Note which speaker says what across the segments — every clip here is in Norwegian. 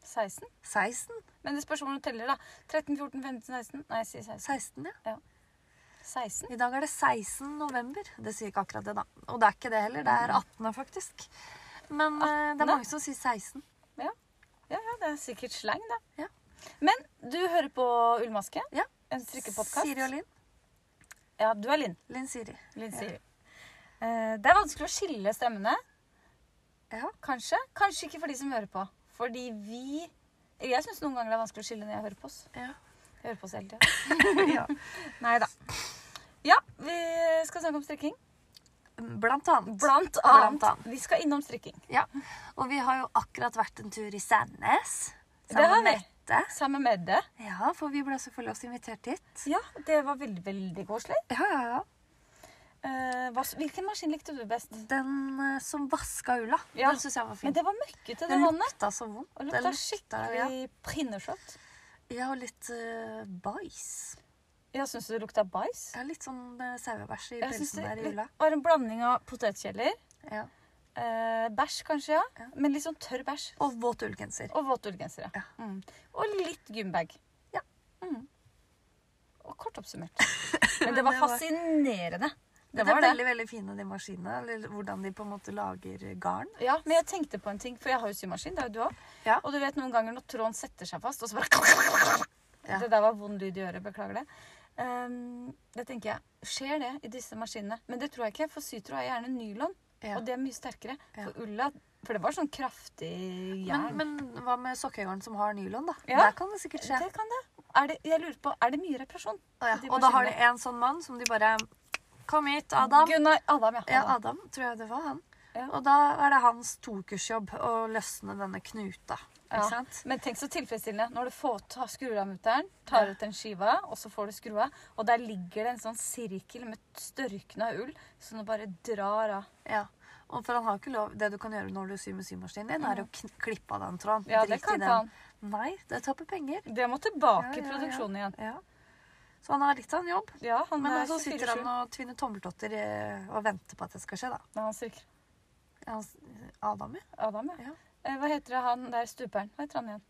Speaker 1: Seksten?
Speaker 2: 16?
Speaker 1: Men det spørs hvordan du teller, da. 13, 14, 15, 16? Nei, jeg sier 16.
Speaker 2: 16, ja.
Speaker 1: 16?
Speaker 2: I dag er det 16. november. Det sier ikke akkurat det, da. Og det er ikke det heller. Det er 18., faktisk. Men eh, det
Speaker 1: 18.?
Speaker 2: er mange som sier 16.
Speaker 1: Ja, ja, det er sikkert slang, da.
Speaker 2: Ja.
Speaker 1: Men du hører på Ullmaske?
Speaker 2: Ja.
Speaker 1: En strikkepodkast?
Speaker 2: Siri og Linn.
Speaker 1: Ja, du er Linn.
Speaker 2: Linn Siri.
Speaker 1: Linn Siri. Eh, Det er vanskelig å skille stemmene,
Speaker 2: Ja.
Speaker 1: kanskje. Kanskje ikke for de som hører på. Fordi vi Jeg syns noen ganger det er vanskelig å skille når jeg hører på oss.
Speaker 2: Ja.
Speaker 1: Jeg hører på oss hele tida. Nei da. Ja, vi skal snakke om strikking.
Speaker 2: Blant annet.
Speaker 1: Blant annet.
Speaker 2: Blant annet.
Speaker 1: Vi skal innom strikking.
Speaker 2: Ja. Og vi har jo akkurat vært en tur i Sandnes.
Speaker 1: Det har
Speaker 2: Sammen med
Speaker 1: vi.
Speaker 2: Mette.
Speaker 1: Sammen med det.
Speaker 2: Ja, for vi ble selvfølgelig også invitert hit.
Speaker 1: Ja, det var veldig, veldig koselig.
Speaker 2: Ja, ja, ja.
Speaker 1: Eh, hva, hvilken maskin likte du best?
Speaker 2: Den eh, som vaska ulla,
Speaker 1: Ja.
Speaker 2: den syns jeg var
Speaker 1: Men
Speaker 2: fin.
Speaker 1: det var møkkete, det
Speaker 2: Den
Speaker 1: vannet.
Speaker 2: lukta så vondt.
Speaker 1: Og
Speaker 2: Den
Speaker 1: lukta
Speaker 2: ja.
Speaker 1: skikkelig pinneskjøtt.
Speaker 2: Ja, og litt uh, bæsj.
Speaker 1: Jeg syns det lukta bæsj.
Speaker 2: Ja, litt sånn uh, sauebæsj i
Speaker 1: Jeg synes
Speaker 2: pelsen der i ulla.
Speaker 1: det var en blanding av potetkjeller,
Speaker 2: Ja.
Speaker 1: eh, bæsj kanskje, ja.
Speaker 2: Ja.
Speaker 1: men litt sånn tørr bæsj.
Speaker 2: Og våt ullgenser.
Speaker 1: Og våt ullgenser, ja.
Speaker 2: Ja.
Speaker 1: Mm. Og litt gymbag.
Speaker 2: Ja.
Speaker 1: Mm. Og kort oppsummert. Men det var
Speaker 2: det var-
Speaker 1: fascinerende.
Speaker 2: Det,
Speaker 1: Det var
Speaker 2: er
Speaker 1: det.
Speaker 2: veldig veldig fine, de maskinene. Eller hvordan de på en måte lager garn.
Speaker 1: Ja, men jeg tenkte på en ting, for jeg har jo symaskin, det har jo du òg.
Speaker 2: Ja.
Speaker 1: Og du vet noen ganger når tråden setter seg fast, og så bare
Speaker 2: Ja.
Speaker 1: Det der var vond lyd i øret, beklager det. Ehm, det tenker jeg, skjer det i disse maskinene? Men det tror jeg ikke, for sytråd er gjerne nylon,
Speaker 2: Ja.
Speaker 1: og det er mye sterkere.
Speaker 2: Ja.
Speaker 1: For ulla For det var sånn kraftig jern.
Speaker 2: Men, men hva med sokkegarn som har nylon, da?
Speaker 1: Ja.
Speaker 2: Der kan det sikkert skje.
Speaker 1: det kan det. Er det. Jeg lurer på, er det mye reparasjon?
Speaker 2: Å ja.
Speaker 1: De
Speaker 2: Og da har de
Speaker 1: maskinene.
Speaker 2: en sånn mann som de bare Kom hit, Adam.
Speaker 1: Gunnar Adam, ja.
Speaker 2: Ja,
Speaker 1: Adam.
Speaker 2: Adam, tror jeg det var han.
Speaker 1: Ja.
Speaker 2: Og da er det hans tokursjobb å løsne denne knuta. Ikke
Speaker 1: Ja.
Speaker 2: sant?
Speaker 1: Men tenk så tilfredsstillende når du får ta, skrur av mutteren, tar ut den skiva, og så får du skrua, og der ligger det en sånn sirkel med størkna ull som du bare drar av.
Speaker 2: Ja. Og for han har ikke lov, Det du kan gjøre når du syr med symaskinen din, er å kn- klippe av den tråden.
Speaker 1: Ja, det
Speaker 2: Drit i
Speaker 1: kan
Speaker 2: den.
Speaker 1: ikke han.
Speaker 2: Nei, det tapper penger.
Speaker 1: Det må tilbake
Speaker 2: Ja,
Speaker 1: i
Speaker 2: ja,
Speaker 1: produksjonen igjen.
Speaker 2: Ja. Så han har litt av en jobb.
Speaker 1: Ja, han
Speaker 2: Men
Speaker 1: er
Speaker 2: så sitter han
Speaker 1: 24-7
Speaker 2: og tvinner tommeltotter eh, og venter på at det skal skje, da.
Speaker 1: når han strikker.
Speaker 2: Ja, han s- Adam, ja.
Speaker 1: Adam, ja.
Speaker 2: Ja.
Speaker 1: Eh, Hva heter det, han der stuperen? Hva heter han igjen?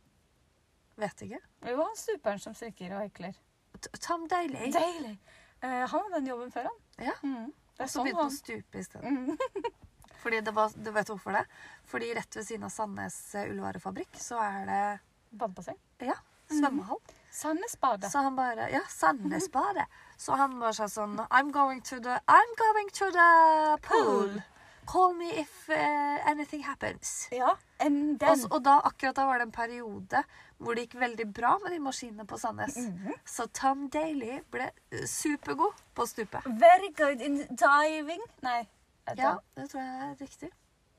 Speaker 2: Vet ikke.
Speaker 1: Jo, han stuperen som strikker og hekler.
Speaker 2: T- Tom Daly.
Speaker 1: Deilig! Eh, han hadde den jobben før, han.
Speaker 2: Ja.
Speaker 1: Mm. Det er
Speaker 2: Så
Speaker 1: sånn
Speaker 2: begynte han å
Speaker 1: han
Speaker 2: stupe isteden.
Speaker 1: Mm.
Speaker 2: Fordi det var, du vet hvorfor det? Fordi rett ved siden av Sandnes eh, ullvarefabrikk så er det
Speaker 1: Badebasseng.
Speaker 2: ja, svømmehall.
Speaker 1: Sandnes bade.
Speaker 2: Så han bare Ja, Sandnesbadet. Så han bare sa sånn I'm going to the I'm going to the pool. Call me if eh, anything happens.
Speaker 1: Ja, and
Speaker 2: Og,
Speaker 1: then.
Speaker 2: s- og da akkurat da var det en periode hvor det gikk veldig bra med de maskinene på Sandnes. Så Tom Daly ble eh, supergod på stupet.
Speaker 1: Very good in diving. Nei, vet du
Speaker 2: Ja,
Speaker 1: hva?
Speaker 2: det tror jeg er riktig.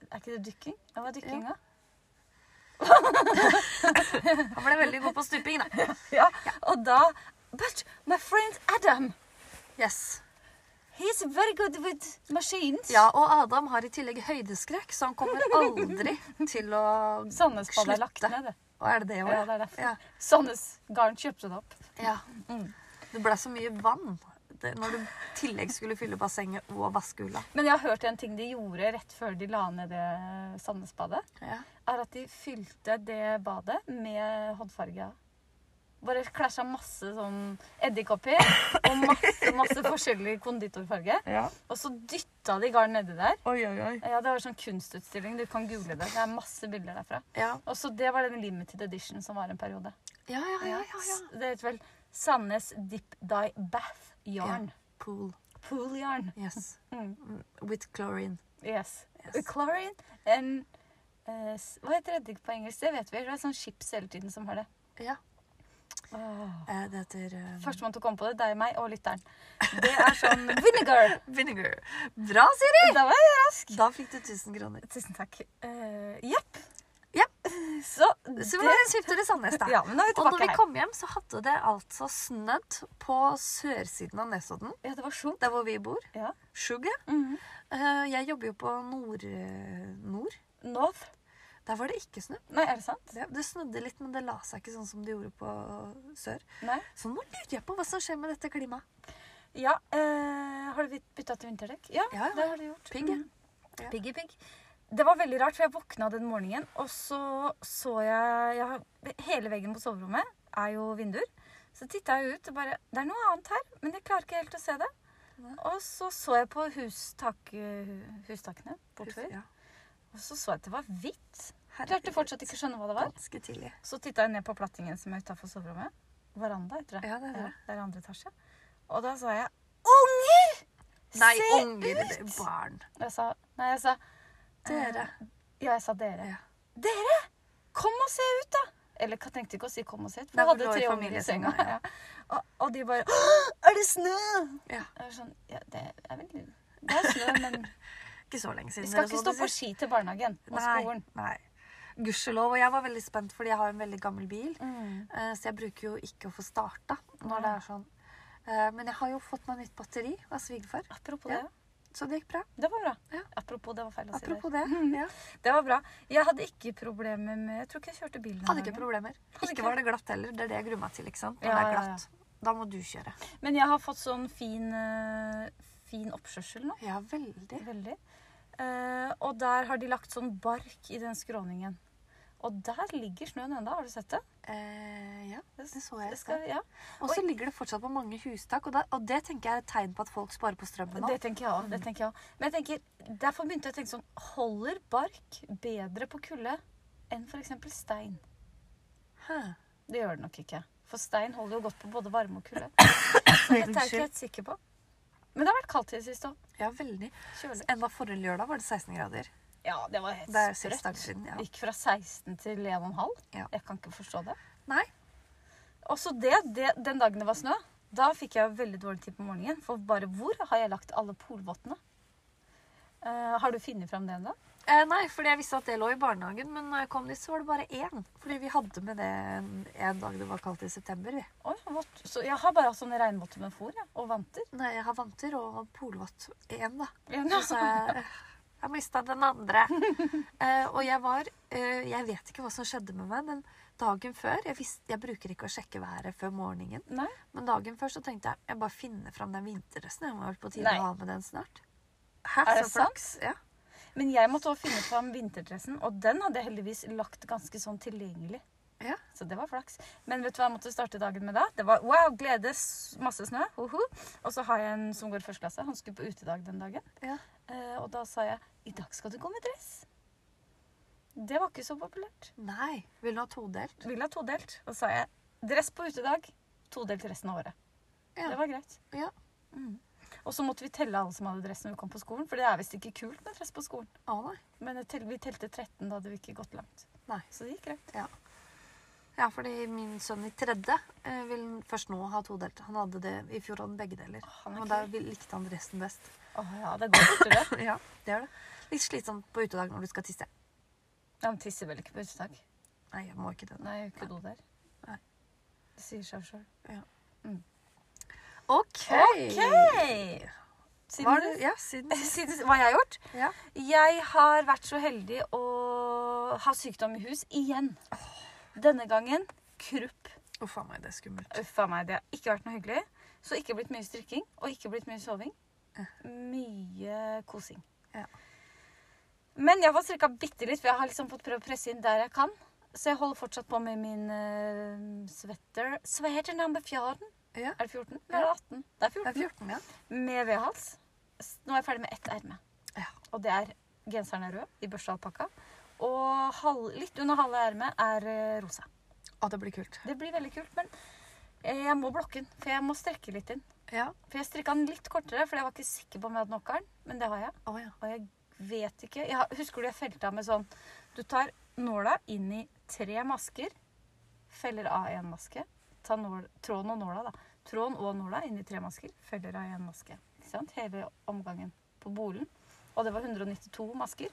Speaker 1: Er ikke det dykking? Ja, hva er dykking, da?
Speaker 2: Han ble veldig god på stuping, da.
Speaker 1: Ja. Og da But my friend Adam,
Speaker 2: Yes.
Speaker 1: he's very good with machines.
Speaker 2: Ja, og Adam har i tillegg høydeskrekk, så han kommer aldri til å
Speaker 1: Sandnesbadet er lagt
Speaker 2: Slutte.
Speaker 1: ned, det.
Speaker 2: Å, er det det
Speaker 1: Ja,
Speaker 2: òg?
Speaker 1: det er derfor.
Speaker 2: Ja.
Speaker 1: Sandnes Garn kjøpte det opp.
Speaker 2: ja.
Speaker 1: Mm.
Speaker 2: Det ble så mye vann det, når du i tillegg skulle fylle bassenget og vaske ulla.
Speaker 1: Men jeg har hørt en ting de gjorde rett før de la ned det Sandnesbadet.
Speaker 2: Ja.
Speaker 1: Er at de fylte det badet med håndfarge. Bare klasja masse sånn eddik oppi, og masse, masse forskjellig konditorfarge. Og så dytta de garn nedi der.
Speaker 2: Oi, oi, oi.
Speaker 1: Ja, det var en sånn kunstutstilling. Du kan google det. Det er masse bilder derfra.
Speaker 2: Ja,
Speaker 1: Og så det var den limited edition som var en periode.
Speaker 2: ja, Ah, ja. ja, ja, ja.
Speaker 1: S- Det heter vel Sandnes Dip Dye Bath Yarn.
Speaker 2: Pool.
Speaker 1: Pool yarn.
Speaker 2: Yes.
Speaker 1: Mm.
Speaker 2: With chlorine.
Speaker 1: Yes.
Speaker 2: Yes.
Speaker 1: Chlorine and eh, s- Hva heter eddik på engelsk? Det vet vi. Det er sånn chips hele tiden som har det.
Speaker 2: Ja.
Speaker 1: Åh.
Speaker 2: Eh, Det heter eh,
Speaker 1: Førstemann til å komme på det, deg, meg og lytteren. Det er sånn vinegar.
Speaker 2: vinegar. Bra, Siri!
Speaker 1: Da var jeg rask.
Speaker 2: Da fikk du 1000 kroner.
Speaker 1: Tusen takk. Eh, Jepp.
Speaker 2: Ja.
Speaker 1: Så
Speaker 2: Så vi var en skifter i Sandnes, da.
Speaker 1: Ja, men nå er vi
Speaker 2: Og når
Speaker 1: tilbake
Speaker 2: vi
Speaker 1: her.
Speaker 2: kom hjem, så hadde det altså snødd på sørsiden av Nesodden,
Speaker 1: Ja, det var sjung.
Speaker 2: der hvor vi bor.
Speaker 1: Ja.
Speaker 2: Skjugge.
Speaker 1: Mhm.
Speaker 2: Eh, Jeg jobber jo på nord, eh, nord.
Speaker 1: North.
Speaker 2: Der var det ikke snø.
Speaker 1: Nei, er det sant?
Speaker 2: Det, det snødde litt, men det la seg ikke sånn som det gjorde på sør.
Speaker 1: Nei.
Speaker 2: Så nå lurer jeg på hva som skjer med dette klimaet.
Speaker 1: Ja, eh, har du bytta til vinterdekk? Ja,
Speaker 2: Ja, ja.
Speaker 1: det har du gjort.
Speaker 2: Pigg, ja.
Speaker 1: Mhm.
Speaker 2: Ja.
Speaker 1: Pigg i pigg. Det var veldig rart, for jeg våkna den morgenen, og så så jeg, jeg har- Hele veggen på soverommet er jo vinduer. Så titta jeg ut og bare Det er noe annet her, men jeg klarer ikke helt å se det.
Speaker 2: Nei.
Speaker 1: Og så så jeg på hustak, hu- hustakene bortover,
Speaker 2: Ja.
Speaker 1: og så så jeg at det var hvitt. Klarte
Speaker 2: Herregud,
Speaker 1: fortsatt ikke å skjønne hva det var.
Speaker 2: Ganske tidlig.
Speaker 1: Så titta jeg ned på plattingen som er utafor soverommet. Veranda, heter det.
Speaker 2: Ja, det er det.
Speaker 1: det er andre etasje. Og da sa jeg 'Unger!
Speaker 2: Nei,
Speaker 1: Se
Speaker 2: unger! det-
Speaker 1: ut!»
Speaker 2: Barn.
Speaker 1: Og Jeg sa, nei, jeg sa eh,
Speaker 2: Dere.
Speaker 1: Ja, jeg sa dere.
Speaker 2: Ja.
Speaker 1: Dere! Kom og se ut, da! Eller jeg tenkte ikke å si 'kom og se ut', for
Speaker 2: Nei,
Speaker 1: jeg
Speaker 2: for
Speaker 1: hadde
Speaker 2: det var
Speaker 1: tre
Speaker 2: i
Speaker 1: unger i senga.
Speaker 2: familiesenga,
Speaker 1: Ja. Og, og de bare «Åh, 'Er det snø?'
Speaker 2: Ja.
Speaker 1: Jeg var sånn, ja, det er vel Det er snø, men
Speaker 2: Ikke så lenge siden.
Speaker 1: vi skal
Speaker 2: dere
Speaker 1: ikke
Speaker 2: så
Speaker 1: stå
Speaker 2: det
Speaker 1: på
Speaker 2: sist.
Speaker 1: ski til barnehagen og skolen.
Speaker 2: Nei. nei. Gudskjelov. Og jeg var veldig spent, fordi jeg har en veldig gammel bil.
Speaker 1: Mm.
Speaker 2: eh, Så jeg bruker jo ikke å få starta når det
Speaker 1: Nei.
Speaker 2: er sånn. Eh, Men jeg har jo fått meg nytt batteri av svigerfar,
Speaker 1: Apropos
Speaker 2: Ja.
Speaker 1: det.
Speaker 2: så det gikk bra.
Speaker 1: Det var bra.
Speaker 2: Ja.
Speaker 1: Apropos, det var feil å si.
Speaker 2: Apropos det. Ja.
Speaker 1: det. Det var bra. Jeg hadde ikke problemer med Jeg tror ikke jeg kjørte bilen. den
Speaker 2: Hadde ikke
Speaker 1: dagen.
Speaker 2: problemer. Ikke
Speaker 1: Hadde ikke.
Speaker 2: var det glatt heller. Det er det jeg gruer meg til. ikke sant? Når
Speaker 1: Ja,
Speaker 2: det er
Speaker 1: ja, ja.
Speaker 2: glatt. Da må du kjøre.
Speaker 1: Men jeg har fått sånn fin, eh, fin oppkjørsel nå.
Speaker 2: Ja, veldig.
Speaker 1: Veldig. Eh, og der har de lagt sånn bark i den skråningen. Og der ligger snøen enda, har du sett det?
Speaker 2: Eh, ja, det så jeg i
Speaker 1: Det skal,
Speaker 2: stad.
Speaker 1: ja.
Speaker 2: Og så ligger det fortsatt på mange hustak, og, da, og det tenker jeg er et tegn på at folk sparer på strømmen nå.
Speaker 1: Det tenker jeg også, det tenker jeg også. Men jeg tenker, derfor begynte jeg å tenke sånn, holder bark bedre på kulde enn for eksempel stein?
Speaker 2: Hæ.
Speaker 1: Det gjør det nok ikke. For stein holder jo godt på både varme og kulde. Så dette er jeg ikke
Speaker 2: Unnskyld.
Speaker 1: helt sikker på. Men det har vært kaldt i det siste også.
Speaker 2: Ja, veldig.
Speaker 1: Kjølig.
Speaker 2: Enda forrige lørdag var det 16 grader.
Speaker 1: Ja, det var helt
Speaker 2: Det er seks
Speaker 1: sprøtt.
Speaker 2: dager siden. ja.
Speaker 1: Gikk fra 16 til 1,5.
Speaker 2: Ja.
Speaker 1: Jeg kan ikke forstå det.
Speaker 2: Nei,
Speaker 1: Også det, det, den dagen det var snø, da fikk jeg veldig dårlig tid på morgenen. For bare hvor har jeg lagt alle polvottene? Eh, har du funnet fram det ennå?
Speaker 2: Eh, nei, fordi jeg visste at det lå i barnehagen, men når jeg kom dit, så var det bare én. Fordi vi hadde med det en, en dag det var kaldt i september. Vi.
Speaker 1: Oi, vått. Så jeg har bare hatt sånne regnvotter med fôr ja, og vanter.
Speaker 2: Nei, jeg har vanter og polvott én, da.
Speaker 1: Ja,
Speaker 2: Og så jeg, jeg mista den andre. Eh, og jeg var eh, Jeg vet ikke hva som skjedde med meg, men dagen før jeg, visste, jeg bruker ikke å sjekke været før morgenen.
Speaker 1: Nei.
Speaker 2: Men dagen før så tenkte jeg jeg bare finner fram den vinterdressen. Jeg må vel på tide
Speaker 1: Nei.
Speaker 2: å ha med den snart. Hæ,
Speaker 1: Er det
Speaker 2: så flaks? Ja.
Speaker 1: Men jeg måtte også finne fram vinterdressen, og den hadde jeg heldigvis lagt ganske sånn tilgjengelig.
Speaker 2: Ja.
Speaker 1: Så det var flaks. Men vet du hva jeg måtte starte dagen med da? Det var wow, glede, s- masse snø. hoho. Og så har jeg en som går i første klasse. Han skulle på utedag den dagen.
Speaker 2: Ja.
Speaker 1: Eh, og da sa jeg i dag skal du gå med dress. Det var ikke så populært.
Speaker 2: Nei. Vil du ha todelt?
Speaker 1: Ville ha todelt. Og sa jeg dress på utedag, todelt resten av året.
Speaker 2: Ja.
Speaker 1: Det var greit.
Speaker 2: Ja.
Speaker 1: Mm. Og så måtte vi telle alle som hadde dress når vi kom på skolen, for det er visst ikke kult med dress på skolen.
Speaker 2: Å nei.
Speaker 1: Men jeg tel- vi telte 13, da hadde vi ikke gått langt.
Speaker 2: Nei.
Speaker 1: Så det gikk greit.
Speaker 2: Ja, fordi min sønn i tredje eh, vil først nå ha todelt. Han hadde det i fjor, hadde han begge deler.
Speaker 1: han er
Speaker 2: og da vil- likte han resten best.
Speaker 1: Å ja, det går fortere.
Speaker 2: Ja, det er det. Litt slitsomt på utedag når du skal tisse.
Speaker 1: Ja, men tisser vel ikke på utedag?
Speaker 2: Nei, jeg må ikke det.
Speaker 1: Nei, jeg har ikke do der.
Speaker 2: Nei.
Speaker 1: Det sier seg sjøl.
Speaker 2: OK!
Speaker 1: OK!
Speaker 2: Hva
Speaker 1: Siden
Speaker 2: er det?
Speaker 1: du-
Speaker 2: Ja, siden
Speaker 1: Siden Hva jeg har gjort?
Speaker 2: ja.
Speaker 1: Jeg har vært så heldig å ha sykdom i hus igjen. Denne gangen krupp.
Speaker 2: Uff a meg, det er skummelt.
Speaker 1: Uff a meg, det har ikke vært noe hyggelig. Så ikke blitt mye strikking, og ikke blitt mye soving. Mye kosing.
Speaker 2: Ja.
Speaker 1: Men jeg har fått strikka bitte litt, for jeg har liksom fått prøve å presse inn der jeg kan. Så jeg holder fortsatt på med min uh, sweater. Sweater number 14.
Speaker 2: Ja.
Speaker 1: Er det 14? Eller er det 18? Det er 14.
Speaker 2: Det er 14, ja.
Speaker 1: Med vedhals. S- Nå er jeg ferdig med ett erme.
Speaker 2: Ja.
Speaker 1: Og det er genseren er rød i børstealpakka. Og halv, litt under halve ermet er eh, rosa.
Speaker 2: Å, det blir kult.
Speaker 1: Det blir veldig kult, men eh, jeg må blokke den, for jeg må strekke litt inn.
Speaker 2: Ja.
Speaker 1: For jeg strikka den litt kortere, for jeg var ikke sikker på om jeg hadde nok av den. Men det har jeg.
Speaker 2: Å ja.
Speaker 1: Og jeg vet ikke jeg har, Husker du jeg felte av med sånn Du tar nåla inn i tre masker, feller av én maske. Ta nål, tråden og nåla, da. Tråden og nåla inn i tre masker, feller av én maske. Ikke sant? Hele omgangen på bolen. Og det var 192 masker.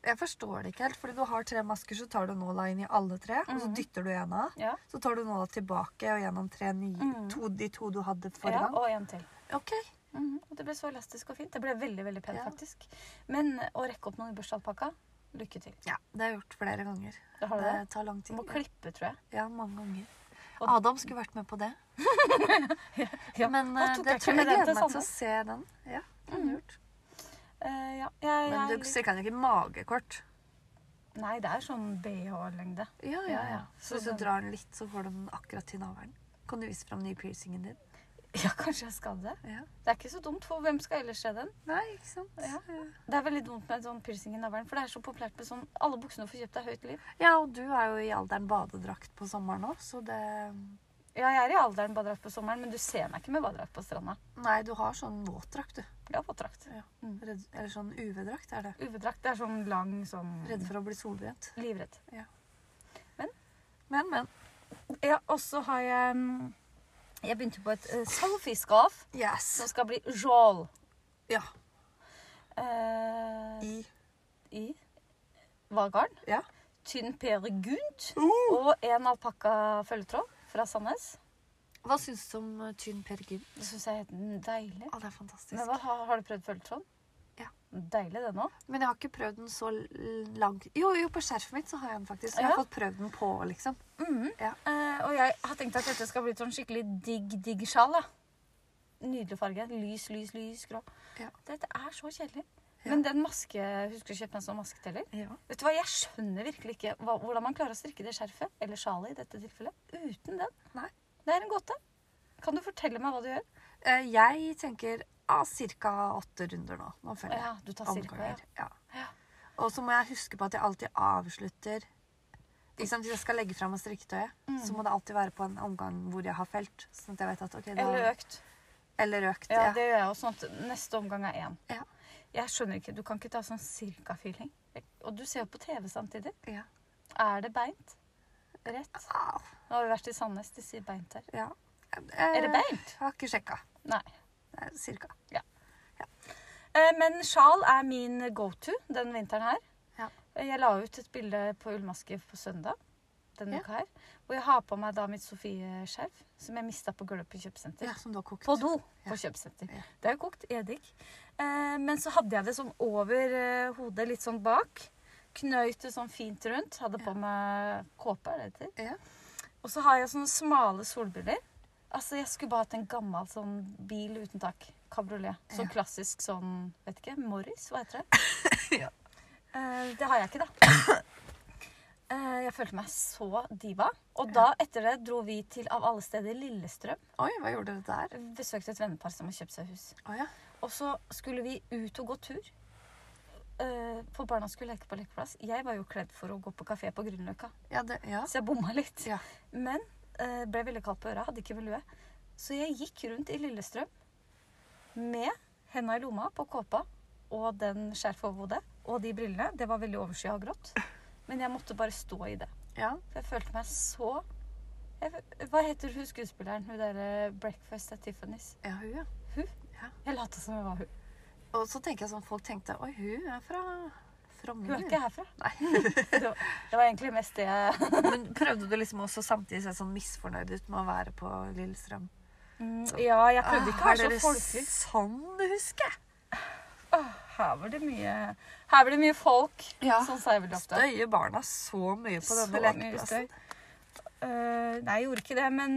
Speaker 2: Jeg forstår det ikke helt, fordi du har tre masker, så tar du nåla inn i alle tre, og så
Speaker 1: Mhm.
Speaker 2: dytter du en av.
Speaker 1: Ja.
Speaker 2: Så tar du nåla tilbake og gjennom tre nye,
Speaker 1: Mhm.
Speaker 2: to, de to du hadde forrige
Speaker 1: ja
Speaker 2: gang.
Speaker 1: og en til.
Speaker 2: Ok.
Speaker 1: Mhm, Og det ble så elastisk og fint. Det ble veldig veldig pent,
Speaker 2: Ja.
Speaker 1: faktisk. Men å rekke opp noen i bursdagspakka lykke til.
Speaker 2: Ja, det har jeg gjort flere ganger.
Speaker 1: Det har du det.
Speaker 2: Det tar lang tid.
Speaker 1: Må klippe, tror jeg.
Speaker 2: Ja, mange ganger.
Speaker 1: Og-
Speaker 2: Adam skulle vært med på det.
Speaker 1: Ja,
Speaker 2: Men
Speaker 1: og
Speaker 2: eh,
Speaker 1: tok
Speaker 2: det tror
Speaker 1: jeg ikke
Speaker 2: jeg
Speaker 1: med den
Speaker 2: gleder meg
Speaker 1: til
Speaker 2: til å
Speaker 1: Sandnes?
Speaker 2: se den. Ja, det er
Speaker 1: Mhm.
Speaker 2: lurt.
Speaker 1: Eh, ja, jeg, jeg,
Speaker 2: Men du stikker den ikke i magekort.
Speaker 1: Nei, det er sånn BH-lengde.
Speaker 2: Ja,
Speaker 1: ja, ja.
Speaker 2: Så hvis du drar den litt, så får du den akkurat til navlen. Kan du vise fram nye piercingen din?
Speaker 1: Ja, kanskje jeg skal det.
Speaker 2: Ja.
Speaker 1: Det er ikke så dumt, for hvem skal ellers se den?
Speaker 2: Nei, ikke sant?
Speaker 1: Ja. Det er veldig dumt med sånn piercing i navlen, for det er så populært med sånn Alle buksene du får kjøpt, er høyt liv.
Speaker 2: Ja, og du er jo i alderen badedrakt på sommeren òg, så det
Speaker 1: Ja, jeg er i alderen badedrakt på sommeren, men du ser meg ikke med badedrakt på stranda.
Speaker 2: Nei, du har sånn våtdrakt, du.
Speaker 1: Ja, våtdrakt.
Speaker 2: Ja. Redd... Eller sånn UV-drakt er det.
Speaker 1: UV-drakt det er sånn lang sånn
Speaker 2: Redd for å bli solbrent.
Speaker 1: Livredd.
Speaker 2: Men, men.
Speaker 1: Ja, og så har jeg mm, Jeg begynte på et uh, selfiescarf
Speaker 2: Yes.
Speaker 1: som skal bli jål.
Speaker 2: Ja.
Speaker 1: Eh,
Speaker 2: I.
Speaker 1: I Vargarden.
Speaker 2: Ja.
Speaker 1: Tynn Per Gunt.
Speaker 2: Oh.
Speaker 1: Og en alpakka-følgetråd fra Sandnes.
Speaker 2: Hva syns du om eh, tynn Per Gynt?
Speaker 1: Det syns jeg er helt deilig.
Speaker 2: Å, det er fantastisk.
Speaker 1: Men hva, har, har du prøvd følgetråd?
Speaker 2: Ja.
Speaker 1: Deilig det nå.
Speaker 2: Men jeg har ikke prøvd den så l- lang Jo, jo, på skjerfet mitt så har jeg den faktisk. Jeg har
Speaker 1: Ja.
Speaker 2: fått prøvd den på, liksom. Ja.
Speaker 1: Eh, og jeg har tenkt at dette skal bli et sånn skikkelig digg, digg sjal. da. Nydelig farge. Lys, lys, lys grå.
Speaker 2: Ja.
Speaker 1: Dette er så kjedelig.
Speaker 2: Ja.
Speaker 1: Men den maske Husker du kjøpte en sånn masketeller?
Speaker 2: Ja.
Speaker 1: Vet du hva, Jeg skjønner virkelig ikke hva, hvordan man klarer å strikke det skjerfet, eller sjalet i dette tilfellet, uten den.
Speaker 2: Nei.
Speaker 1: Det er en gåte. Kan du fortelle meg hva du gjør?
Speaker 2: Eh, Jeg tenker ah, ca. åtte runder nå. Nå
Speaker 1: Å
Speaker 2: følger jeg.
Speaker 1: ja, du tar cirka, ja.
Speaker 2: Omganger, ja.
Speaker 1: Ja.
Speaker 2: Og så må jeg huske på at jeg alltid avslutter ikke sant, Hvis jeg skal legge fram strikketøyet,
Speaker 1: Mm.
Speaker 2: så må det alltid være på en omgang hvor jeg har felt. Sånn at jeg vet at ok, da,
Speaker 1: Eller økt.
Speaker 2: eller økt.
Speaker 1: Ja,
Speaker 2: Ja,
Speaker 1: det gjør jeg også. Sånn at neste omgang er én.
Speaker 2: Ja.
Speaker 1: Jeg skjønner ikke. Du kan ikke ta sånn cirka-feeling. Og du ser jo på TV samtidig.
Speaker 2: Ja.
Speaker 1: Er det beint? Rett?
Speaker 2: Au,
Speaker 1: Nå har vi vært i Sandnes. De sier beint her.
Speaker 2: ja. Eh,
Speaker 1: Er det beint?
Speaker 2: Jeg har ikke sjekka.
Speaker 1: Nei.
Speaker 2: Det er cirka.
Speaker 1: Eh, Men sjal er min go-to den vinteren her.
Speaker 2: Ja.
Speaker 1: Eh, Jeg la ut et bilde på ullmaske på søndag denne
Speaker 2: Ja.
Speaker 1: uka her. Hvor jeg har på meg da mitt Sofie-skjerf, som jeg mista på gulvet på kjøpesenter.
Speaker 2: Ja, som du har kokt.
Speaker 1: På do
Speaker 2: Ja.
Speaker 1: på kjøpesenter.
Speaker 2: Ja.
Speaker 1: Det er jo kokt eddik. Eh, men så hadde jeg det sånn over eh, hodet, litt sånn bak. Knøyt det sånn fint rundt. Hadde på meg kåpe, er det det heter.
Speaker 2: Ja.
Speaker 1: Og så har jeg sånne smale solbriller. Altså, jeg skulle bare hatt en gammel sånn bil uten tak. Kabriolet. Sånn
Speaker 2: Ja.
Speaker 1: klassisk sånn, vet ikke, Morris, hva heter det?
Speaker 2: Ja.
Speaker 1: Eh, det har jeg ikke, da. Eh, jeg følte meg så diva. Og da, etter det, dro vi til, av alle steder, Lillestrøm
Speaker 2: Oi, hva gjorde dere der?
Speaker 1: besøkte et vennepar som har kjøpt seg hus.
Speaker 2: Å ja.
Speaker 1: Og så skulle vi ut og gå tur. Eh, For barna skulle leke på lekeplass. Jeg var jo kledd for å gå på kafé på Grünerløkka,
Speaker 2: Ja, det, ja.
Speaker 1: så jeg bomma litt.
Speaker 2: Ja.
Speaker 1: Men eh, ble veldig kald på øra, hadde ikke velue. Så jeg gikk rundt i Lillestrøm med henda i lomma på kåpa og den skjerfet over hodet og de brillene. Det var veldig overskya og grått. Men jeg måtte bare stå i det.
Speaker 2: ja.
Speaker 1: For jeg følte meg så jeg, Hva heter hun skuespilleren? Hun derre Breakfast at Tiffany's.
Speaker 2: Ja, hun, ja.
Speaker 1: Jeg lot som jeg var hun.
Speaker 2: Og så tenker jeg sånn, folk tenkte Oi, hun er fra
Speaker 1: Hun er
Speaker 2: Frogner.
Speaker 1: ikke herfra.
Speaker 2: Nei.
Speaker 1: Det var, det var egentlig mest det jeg
Speaker 2: Men prøvde du liksom også samtidig å se sånn misfornøyd ut med å være på Lillestrøm?
Speaker 1: Ja, jeg prøvde ikke å
Speaker 2: Ah,
Speaker 1: være så
Speaker 2: er det
Speaker 1: folkelig.
Speaker 2: sånn du husker?
Speaker 1: Åh, Her var det mye Her var det mye folk.
Speaker 2: Ja.
Speaker 1: Sånn sa jeg veldig ofte.
Speaker 2: Støyer barna så mye på denne
Speaker 1: Så mye
Speaker 2: lekeplassen?
Speaker 1: støy. Eh, nei, jeg gjorde ikke det, men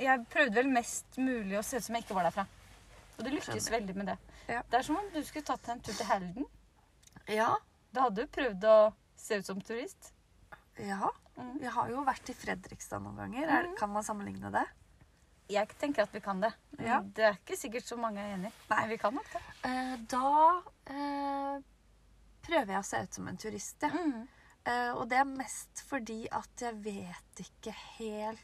Speaker 1: jeg prøvde vel mest mulig å se ut som jeg ikke var derfra. Og det lyktes veldig med det.
Speaker 2: Ja.
Speaker 1: Det er som om du skulle tatt en tur til Halden.
Speaker 2: Ja.
Speaker 1: Da hadde du prøvd å se ut som turist.
Speaker 2: ja.
Speaker 1: Mhm.
Speaker 2: Jeg har jo vært i Fredrikstad noen ganger. Er,
Speaker 1: Mhm.
Speaker 2: kan man sammenligne det?
Speaker 1: Jeg tenker at vi kan det. Men
Speaker 2: Ja.
Speaker 1: Det er ikke sikkert så mange er enig.
Speaker 2: Nei.
Speaker 1: Men vi kan nok det.
Speaker 2: Eh, da eh, prøver jeg å se ut som en turist, ja.
Speaker 1: Mm.
Speaker 2: Eh, og det er mest fordi at jeg vet ikke helt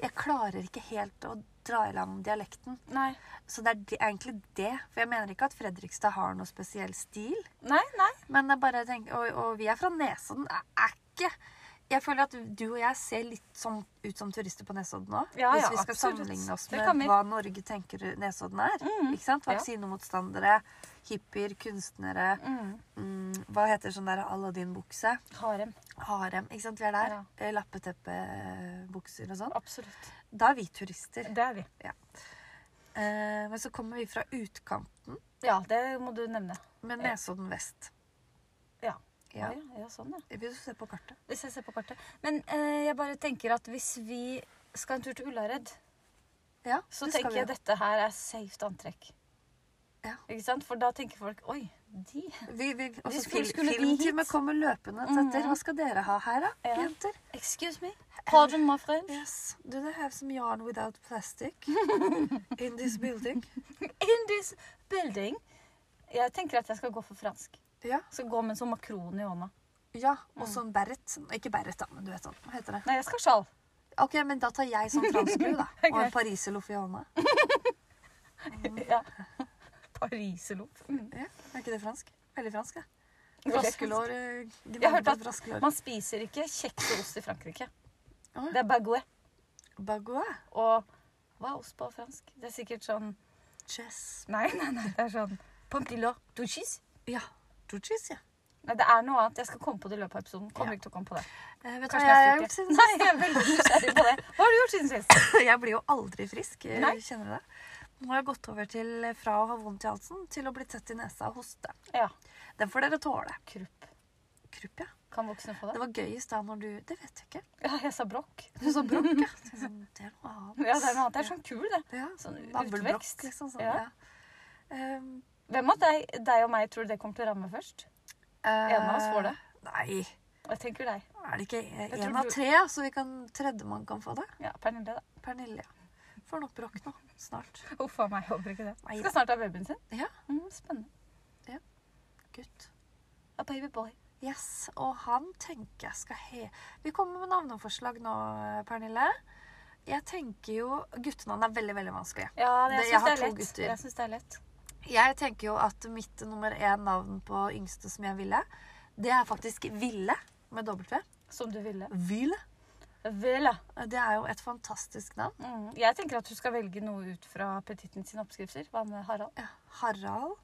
Speaker 2: Jeg klarer ikke helt å dra i land dialekten.
Speaker 1: Nei.
Speaker 2: Så det er de- egentlig det. For jeg mener ikke at Fredrikstad har noe spesiell stil.
Speaker 1: Nei, nei.
Speaker 2: Men jeg bare tenker, og, og vi er fra Nesodden. Det er ikke Jeg føler at du og jeg ser litt som, ut som turister på Nesodden nå.
Speaker 1: Ja,
Speaker 2: hvis
Speaker 1: ja,
Speaker 2: vi skal
Speaker 1: absolutt.
Speaker 2: sammenligne oss
Speaker 1: Det kan
Speaker 2: med
Speaker 1: vi. Mm,
Speaker 2: hva Norge tenker Nesodden er. Ikke sant?
Speaker 1: Ja.
Speaker 2: Vaksinemotstandere, hippier, kunstnere
Speaker 1: Mm.
Speaker 2: mm, Hva heter sånn der Aladdin-bukse?
Speaker 1: Harem.
Speaker 2: Harem. Ikke sant? Vi er der.
Speaker 1: Ja.
Speaker 2: Eh, Lappeteppebukser og sånn.
Speaker 1: Absolutt.
Speaker 2: Da er vi turister.
Speaker 1: Det er vi.
Speaker 2: Eh, men så kommer vi fra utkanten
Speaker 1: Ja, det må du nevne.
Speaker 2: med
Speaker 1: Ja.
Speaker 2: Nesodden vest.
Speaker 1: Ja.
Speaker 2: ja.
Speaker 1: Å ja, ja sånn, ja.
Speaker 2: Vil du se på kartet?
Speaker 1: Hvis jeg ser på kartet. Men eh, jeg bare tenker at hvis vi skal en tur til Ullared,
Speaker 2: Ja,
Speaker 1: så
Speaker 2: det skal
Speaker 1: tenker
Speaker 2: vi
Speaker 1: jeg
Speaker 2: jo.
Speaker 1: dette her er safe antrekk.
Speaker 2: Ja.
Speaker 1: Ikke sant? For da tenker folk Oi, de
Speaker 2: Vi, vi, og så
Speaker 1: skulle-
Speaker 2: fil,
Speaker 1: skulle de
Speaker 2: filmteamet
Speaker 1: hit?
Speaker 2: kommer løpende
Speaker 1: Mhm.
Speaker 2: etter. Hva skal dere ha her, da,
Speaker 1: Ja.
Speaker 2: jenter?
Speaker 1: Excuse me. Pardon my friend.
Speaker 2: Yes, do they have some yarn without plastic in this building?
Speaker 1: In this building. Jeg tenker at jeg skal gå for fransk.
Speaker 2: Ja,
Speaker 1: Skal gå med en sånn makron i hånda.
Speaker 2: ja. og sånn beret. Ikke beret, da, men du vet sånn. Hva heter det?
Speaker 1: Nei, jeg skal ha sjal.
Speaker 2: Ok, men da tar jeg sånn fransk lue, da.
Speaker 1: Ok.
Speaker 2: Og en pariserloff i hånda.
Speaker 1: Ja. Pariserloff. Mm.
Speaker 2: Ja, er ikke det fransk? Veldig fransk, ja.
Speaker 1: Jeg
Speaker 2: Vaskelår. eh,
Speaker 1: har hørt
Speaker 2: gnagd
Speaker 1: at
Speaker 2: vaskelår.
Speaker 1: Man spiser ikke kjeks og ost i Frankrike.
Speaker 2: Å.
Speaker 1: Det er bagouet.
Speaker 2: Bagua.
Speaker 1: Og hva er ost på fransk? Det er sikkert sånn
Speaker 2: Chess.
Speaker 1: Nei, nei, nei. Det er sånn Pampilla douchis.
Speaker 2: Ja. Duchis, ja.
Speaker 1: Nei, det er noe annet. Jeg skal komme på det i løpet av episoden. Kommer
Speaker 2: Ja.
Speaker 1: ikke til å komme på det.
Speaker 2: Eh, vet du hva
Speaker 1: Kanskje
Speaker 2: jeg har gjort
Speaker 1: neste uke.
Speaker 2: siden
Speaker 1: Nei, jeg er veldig nysgjerrig på det. Hva har du gjort siden sist?
Speaker 2: Jeg blir jo aldri frisk. eh,
Speaker 1: Nei.
Speaker 2: Kjenner du det? Nå har jeg gått over til eh, fra å ha vondt i halsen til å bli tett i nesa og hoste.
Speaker 1: Ja,
Speaker 2: Den får dere tåle.
Speaker 1: krupp.
Speaker 2: Krupp, ja.
Speaker 1: Kan voksne få
Speaker 2: Det
Speaker 1: det?
Speaker 2: var gøy i stad når du Det vet jeg ikke.
Speaker 1: Ja, jeg sa brokk.
Speaker 2: Du sa brokk, ja. Så jeg sånn, Det er noe annet.
Speaker 1: Ja, det er noe annet. Det er sånn kul, det.
Speaker 2: Ja,
Speaker 1: sånn
Speaker 2: navlebrokk,
Speaker 1: utvekst.
Speaker 2: Liksom, sånn,
Speaker 1: Ja.
Speaker 2: ja. Ehm,
Speaker 1: Hvem av deg, deg og meg tror du det kommer til å ramme først?
Speaker 2: eh,
Speaker 1: En av oss får det.
Speaker 2: Nei.
Speaker 1: Jeg tenker deg.
Speaker 2: Er det ikke eh,
Speaker 1: Jeg
Speaker 2: en
Speaker 1: tror
Speaker 2: av
Speaker 1: du-
Speaker 2: tre, ja, så vi kan tredjemann kan få det?
Speaker 1: Ja, Pernille, da.
Speaker 2: Pernille. ja. Får nok brokk nå. Snart.
Speaker 1: Uff a meg, jeg håper ikke det.
Speaker 2: Nei,
Speaker 1: Skal snart ha babyen sin.
Speaker 2: Ja.
Speaker 1: Mm, spennende.
Speaker 2: Gutt.
Speaker 1: A baby boy.
Speaker 2: Yes, og han tenker jeg skal he... Vi kommer med navneforslag nå, Pernille. Jeg tenker jo Guttenavn er veldig, veldig vanskelig.
Speaker 1: Ja,
Speaker 2: Det-
Speaker 1: jeg
Speaker 2: jeg
Speaker 1: syns
Speaker 2: har
Speaker 1: det er
Speaker 2: to
Speaker 1: lett.
Speaker 2: gutter.
Speaker 1: Jeg synes det er lett.
Speaker 2: Jeg tenker jo at mitt nummer én navn på yngste som jeg ville, det er faktisk Ville med W.
Speaker 1: Som du ville.
Speaker 2: Ville.
Speaker 1: Ville.
Speaker 2: Det er jo et fantastisk navn.
Speaker 1: Mm. Jeg tenker at du skal velge noe ut fra appetitten sine oppskrifter. Hva med Harald?
Speaker 2: Ja, Harald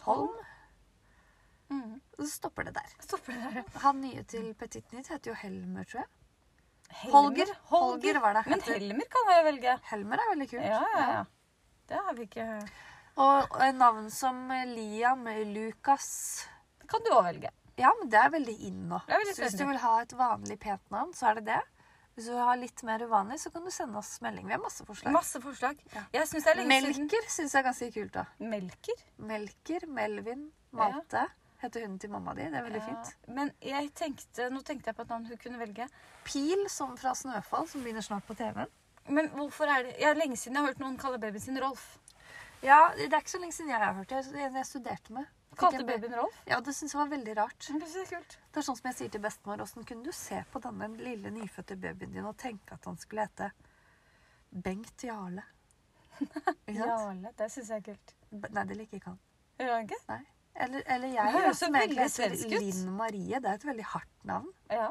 Speaker 2: Hanstholm.
Speaker 1: Mm.
Speaker 2: Så stopper det der.
Speaker 1: Stopper det der, ja.
Speaker 2: Han nye til Petit Nytt heter jo Helmer, tror jeg.
Speaker 1: Helmer.
Speaker 2: Holger. Holger var det.
Speaker 1: Men Helmer kan jeg velge.
Speaker 2: Helmer er veldig kult.
Speaker 1: Ja, ja, ja. Det har vi ikke
Speaker 2: Og eh, navn som Liam, Lukas
Speaker 1: Kan du òg velge.
Speaker 2: Ja, men det er veldig inn nå.
Speaker 1: Det er veldig
Speaker 2: Så hvis du
Speaker 1: trendy.
Speaker 2: vil ha et vanlig pent navn, så er det det. Hvis du vil ha litt mer uvanlig, så kan du sende oss melding. Vi har masse forslag.
Speaker 1: Masse forslag. Jeg syns det er lenge siden
Speaker 2: Melker syns jeg er ganske kult, da.
Speaker 1: Melker.
Speaker 2: Melker, Melvin, Malte. Heter hunden til mamma di. Det er veldig fint.
Speaker 1: Ja, Men jeg tenkte, nå tenkte jeg på et navn hun kunne velge.
Speaker 2: Pil, som fra Snøfall, som begynner snart på TV-en.
Speaker 1: Men hvorfor er det Jeg er lenge siden jeg har hørt noen kalle babyen sin Rolf.
Speaker 2: Ja, det er ikke så lenge siden jeg har hørt det. Det er en jeg studerte med. Fikk
Speaker 1: Kalte
Speaker 2: en baby-
Speaker 1: babyen Rolf?
Speaker 2: Ja, det syns jeg var veldig rart.
Speaker 1: Men Det er kult.
Speaker 2: Det er sånn som jeg sier til bestemor, åssen kunne du se på denne lille nyfødte babyen din og tenke at han skulle hete Bengt Jarle? Ikke sant?
Speaker 1: Jarle. Det syns jeg er kult.
Speaker 2: B- Nei, det liker ikke han.
Speaker 1: Gjør det ikke?
Speaker 2: Nei. Eller, eller
Speaker 1: Det
Speaker 2: jeg,
Speaker 1: høres jo
Speaker 2: som egentlig
Speaker 1: veldig svensk
Speaker 2: heter
Speaker 1: ut.
Speaker 2: Linn Marie. Det er et veldig hardt navn.
Speaker 1: Ja.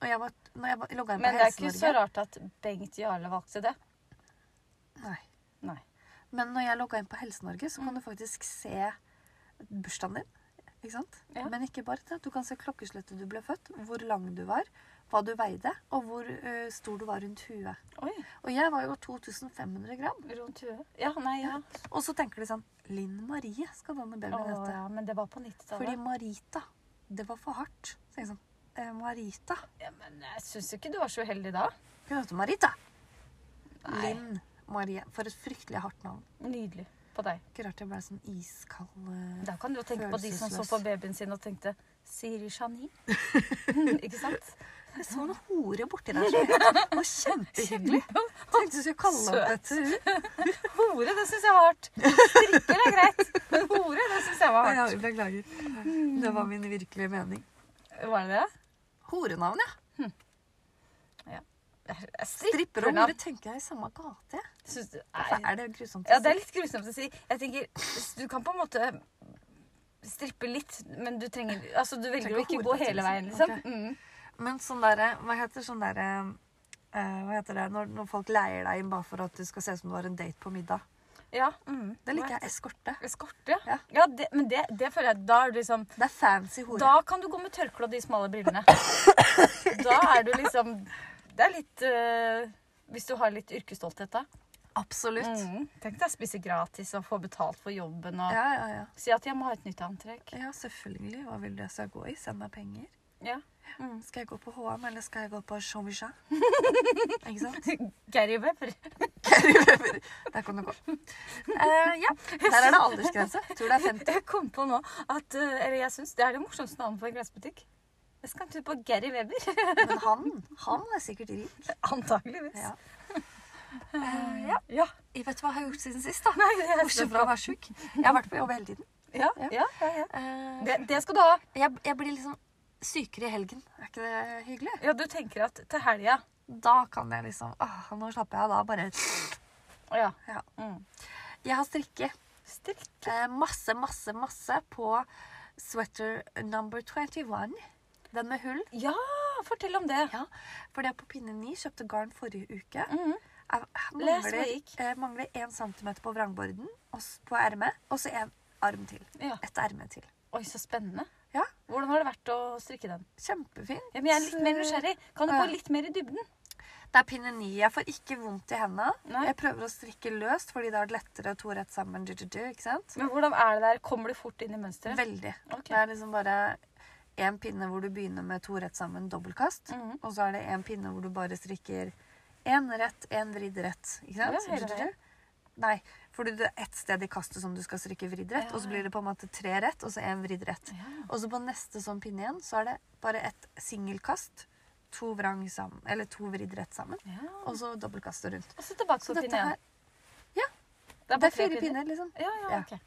Speaker 2: Og jeg var, når jeg var- logga inn på
Speaker 1: Men det er ikke så
Speaker 2: Helse-Norge
Speaker 1: rart at Bengt Jarle valgte det.
Speaker 2: Nei.
Speaker 1: Nei. Mm.
Speaker 2: Men når jeg logga inn på Helse-Norge, så kan du faktisk se bursdagen din. Ikke sant?
Speaker 1: Ja.
Speaker 2: Men ikke bare det. Du kan se klokkeslettet du ble født, hvor lang du var, hva du veide, og hvor ø, stor du var rundt huet.
Speaker 1: Oi.
Speaker 2: Og jeg var jo 2500 gram.
Speaker 1: Rundt huet. Ja, nei, ja.
Speaker 2: Og så tenker de sånn Linn Marie skal danne
Speaker 1: Å,
Speaker 2: babyen hete.
Speaker 1: ja. Men det var på
Speaker 2: Fordi
Speaker 1: 90-tallet.
Speaker 2: Marita, det var for hardt. Så jeg sånn eh, Marita.
Speaker 1: Ja, men jeg syns ikke du var så uheldig da.
Speaker 2: Hun heter Marita.
Speaker 1: Nei.
Speaker 2: Linn Marie. For et fryktelig hardt navn.
Speaker 1: Nydelig på deg.
Speaker 2: Ikke rart jeg ble sånn iskald eh.
Speaker 1: Da kan du jo tenke på de som så
Speaker 2: Følelsesløs.
Speaker 1: på babyen sin og tenkte Siri Janine. ikke sant?
Speaker 2: Jeg så noen hore borti der. så jeg- Det var kjempehyggelig. Tenkte du skulle kalle opp etter henne.
Speaker 1: Hore, det syns jeg var hardt. Strikker er greit, men hore, det syns jeg var
Speaker 2: Ja,
Speaker 1: hardt.
Speaker 2: beklager. Det var min virkelige mening.
Speaker 1: Var det det?
Speaker 2: Horenavn, ja.
Speaker 1: Jeg
Speaker 2: Stripper og
Speaker 1: navn.
Speaker 2: hore tenker jeg i samme gate. jeg.
Speaker 1: Syns du-
Speaker 2: Hvorfor
Speaker 1: nei.
Speaker 2: Er det grusomt? å
Speaker 1: Ja, det
Speaker 2: si?
Speaker 1: er litt grusomt å si. Jeg tenker, Du kan på en måte strippe litt, men du trenger Altså, du velger
Speaker 2: Trenger
Speaker 1: å ikke
Speaker 2: hore
Speaker 1: gå
Speaker 2: til,
Speaker 1: hele
Speaker 2: liksom.
Speaker 1: veien, liksom.
Speaker 2: Ok.
Speaker 1: Mm.
Speaker 2: Men sånn derre Hva heter sånn derre eh, Hva heter det når, når folk leier deg inn bare for at det skal se ut som det var en date på middag?
Speaker 1: Ja, mm.
Speaker 2: Det liker jeg. Eskorte.
Speaker 1: Eskorte,
Speaker 2: Ja.
Speaker 1: ja. ja det, men det, det føler jeg Da er du liksom
Speaker 2: Det er fancy hore.
Speaker 1: Da kan du gå med tørkle og de smale brillene. Da er du liksom Det er litt eh, Hvis du har litt yrkesstolthet, da.
Speaker 2: Absolutt.
Speaker 1: Mm. Tenk deg å spise gratis og få betalt for jobben og
Speaker 2: Ja, ja, ja.
Speaker 1: si at jeg må ha et nytt antrekk.
Speaker 2: Ja, selvfølgelig. Hva vil du jeg skal gå i? Send meg penger.
Speaker 1: Ja. Mm.
Speaker 2: Skal jeg gå på HM, eller skal jeg gå på Chauvicha? Ikke sant?
Speaker 1: Gary Webber.
Speaker 2: Der kan du gå. Eh, ja, der er det aldersgrense. Tror det er 50.
Speaker 1: Jeg kom på nå at eh, Eller jeg syns det er det morsomste navnet på en klesbutikk. Jeg skal en tur på Gary Webber.
Speaker 2: Men han, han er sikkert rik.
Speaker 1: Antakeligvis.
Speaker 2: Ja.
Speaker 1: Ja.
Speaker 2: Eh, ja.
Speaker 1: ja.
Speaker 2: Jeg vet hva jeg har gjort siden sist, da.
Speaker 1: Nei, det er
Speaker 2: Bortsett fra å være sjuk. Jeg har vært på jobb hele tiden.
Speaker 1: Ja, ja, ja, ja.
Speaker 2: Eh,
Speaker 1: Det, det skal du ha.
Speaker 2: jeg, jeg blir liksom sykere i helgen. Er ikke det hyggelig?
Speaker 1: Ja, du tenker at til helga
Speaker 2: Da kan jeg liksom ah, Nå slapper jeg av. Da bare
Speaker 1: Ja.
Speaker 2: Ja.
Speaker 1: Mm.
Speaker 2: Jeg har strikke.
Speaker 1: Strikk.
Speaker 2: eh, masse, masse, masse på sweater number 21. Den med hull.
Speaker 1: Ja, fortell om det.
Speaker 2: Ja, fordi jeg på pinne 9 kjøpte garn forrige uke.
Speaker 1: Mhm.
Speaker 2: Jeg
Speaker 1: Les hva
Speaker 2: mangler,
Speaker 1: gikk.
Speaker 2: eh, mangler 1 cm på vrangborden og s- på ermet, og så en arm til.
Speaker 1: ja.
Speaker 2: Et erme til.
Speaker 1: Oi, så spennende.
Speaker 2: Ja.
Speaker 1: Hvordan har det vært å strikke den?
Speaker 2: Kjempefint.
Speaker 1: Ja, men jeg er litt mer nysgjerrig. Kan du
Speaker 2: Ja.
Speaker 1: gå litt mer i dybden?
Speaker 2: Det er pinne 9. Jeg får ikke vondt i hendene.
Speaker 1: Nei.
Speaker 2: Jeg prøver å strikke løst, fordi det er lettere to rett sammen. Du, du, du, ikke sant?
Speaker 1: Men hvordan er det der? Kommer du fort inn i mønsteret?
Speaker 2: Veldig.
Speaker 1: Ok.
Speaker 2: Det er liksom bare én pinne hvor du begynner med to rett sammen, dobbeltkast.
Speaker 1: Mhm.
Speaker 2: Og så er det en pinne hvor du bare strikker én rett, én vridd rett. Ikke sant?
Speaker 1: Ja, hele veien.
Speaker 2: Nei, for det er ett sted i kastet som du skal strikke vridd rett,
Speaker 1: Ja.
Speaker 2: og så blir det på en måte tre rett, og så én vridd rett.
Speaker 1: Ja.
Speaker 2: Og så på neste sånn pinne igjen, så er det bare ett singelkast, to vrang sammen, eller to vridd rett sammen,
Speaker 1: ja.
Speaker 2: og så dobbeltkastet rundt.
Speaker 1: Og så tilbake
Speaker 2: Så
Speaker 1: på
Speaker 2: dette
Speaker 1: pinne
Speaker 2: her,
Speaker 1: én.
Speaker 2: det
Speaker 1: bare
Speaker 2: er
Speaker 1: tre
Speaker 2: fire pinner, liksom.
Speaker 1: Ja, ja,
Speaker 2: Ja.
Speaker 1: ok.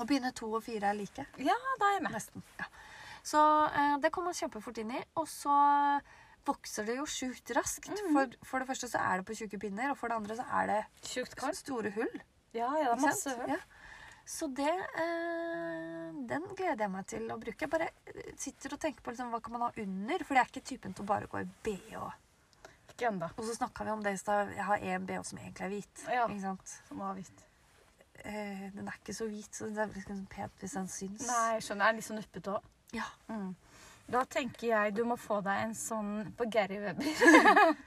Speaker 2: Og pinne to og fire er like.
Speaker 1: Ja, da er jeg med.
Speaker 2: Nesten. Ja. Så eh, det kommer man kjempefort inn i. Og så eh, vokser det jo sjukt raskt.
Speaker 1: Mm.
Speaker 2: For, for det første så er det på tjukke pinner, og for det andre så er det
Speaker 1: Sjukt kort.
Speaker 2: store hull.
Speaker 1: Ja, ja, det er
Speaker 2: ikke
Speaker 1: masse
Speaker 2: sant?
Speaker 1: hull.
Speaker 2: Ja. Så det eh, Den gleder jeg meg til å bruke. Jeg bare eh, sitter og tenker på liksom, hva kan man ha under, for det er ikke typen til å bare gå i bh.
Speaker 1: Ikke ennå.
Speaker 2: Og så snakka vi om det i stad. Jeg har én bh som egentlig er hvit.
Speaker 1: Ja.
Speaker 2: Ikke sant?
Speaker 1: Som har visst.
Speaker 2: Eh, den er ikke så hvit, så det er liksom pent hvis den syns.
Speaker 1: Nei, skjønner. Er den litt sånn nuppete òg?
Speaker 2: Ja.
Speaker 1: Mm. Da tenker jeg du må få deg en sånn på Gary Webber.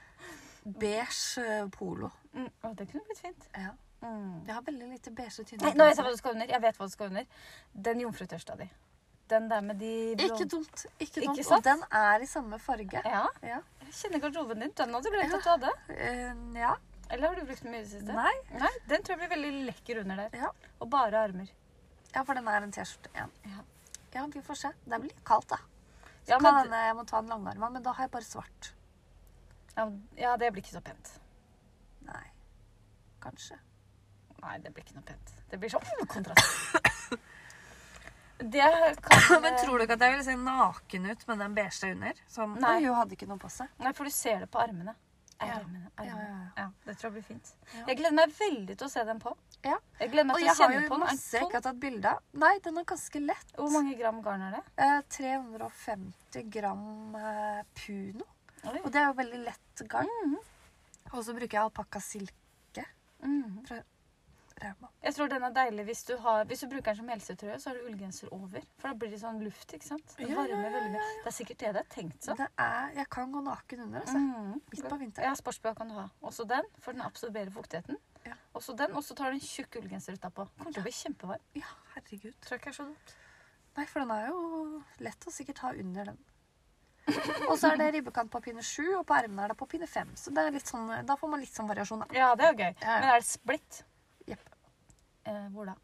Speaker 2: Beige eh, polo.
Speaker 1: Mm. Å, det kunne blitt fint.
Speaker 2: Ja.
Speaker 1: Mm.
Speaker 2: Jeg har veldig lite beige
Speaker 1: Nei,
Speaker 2: tynne
Speaker 1: nå vet jeg hva du skal under. Jeg vet hva du skal under. Den jomfrutørsta di. Den der med de blå-
Speaker 2: Ikke dumt. Ikke
Speaker 1: Ikke
Speaker 2: dumt.
Speaker 1: sant?
Speaker 2: og den er i samme farge.
Speaker 1: Ja,
Speaker 2: Ja.
Speaker 1: jeg kjenner garderoben din. Den hadde du glemt at du hadde.
Speaker 2: Eh, ja.
Speaker 1: Eller har du brukt den mye i det siste?
Speaker 2: Nei.
Speaker 1: Nei, Den tror jeg blir veldig lekker under der.
Speaker 2: Ja.
Speaker 1: Og bare armer.
Speaker 2: ja, for den er en T-skjorte igjen.
Speaker 1: Ja.
Speaker 2: Ja, vi får se. Det blir litt kaldt, da.
Speaker 1: Ja,
Speaker 2: Kan
Speaker 1: men,
Speaker 2: hende jeg må ta en langarma, men da har jeg bare svart.
Speaker 1: ja, ja, det blir ikke så pent.
Speaker 2: Nei. Kanskje.
Speaker 1: Nei, det blir ikke noe pent. Det blir sånn kontrast. Det kan
Speaker 2: Men tror du ikke at jeg ville se naken ut med den beige under? Som,
Speaker 1: Nei.
Speaker 2: Oi, hun hadde ikke noe på seg.
Speaker 1: Nei, for du ser det på armene.
Speaker 2: Ja.
Speaker 1: Armene, armene.
Speaker 2: Ja, ja, ja.
Speaker 1: det tror jeg blir fint.
Speaker 2: Ja.
Speaker 1: Jeg gleder meg veldig til å se den på.
Speaker 2: Ja.
Speaker 1: Jeg gleder meg
Speaker 2: Og
Speaker 1: til
Speaker 2: jeg
Speaker 1: å
Speaker 2: har
Speaker 1: kjenne
Speaker 2: jo
Speaker 1: på den. Er
Speaker 2: masse jeg
Speaker 1: den.
Speaker 2: ikke har tatt bilde av. Nei, den er ganske lett.
Speaker 1: Hvor mange gram garn er det?
Speaker 2: Eh, 350 gram eh, puno.
Speaker 1: Oi.
Speaker 2: Og det er jo veldig lett garn. Og så bruker jeg alpakka silke
Speaker 1: Mhm.
Speaker 2: fra Rauma.
Speaker 1: Jeg tror den er deilig hvis du, har, hvis du bruker den som helsetrøye, så har du ullgenser over. For da blir det sånn luft, ikke sant? Det
Speaker 2: Ja, ja,
Speaker 1: varmer
Speaker 2: ja,
Speaker 1: veldig mye. Det er sikkert det det er tenkt sånn.
Speaker 2: Det er, jeg kan gå naken under, altså.
Speaker 1: Mm.
Speaker 2: Midt på vinteren.
Speaker 1: Ja, sportsbøya kan du ha. Også den, for den absorberer fuktigheten.
Speaker 2: Ja.
Speaker 1: Også den, og så tar du en tjukk ullgenser utapå. Kommer til å bli kjempevarm.
Speaker 2: Ja, herregud.
Speaker 1: Tror jeg ikke er så dumt.
Speaker 2: Nei, for den er jo lett å sikkert ha under den. Og så er det ribbekant på pinne sju, og på ermene er det på pinne fem. Så det er litt sånn, da får man litt sånn variasjon. da.
Speaker 1: Ja, det er gøy.
Speaker 2: Ja.
Speaker 1: Men er det splitt?
Speaker 2: Jepp.
Speaker 1: Eh, hvor da?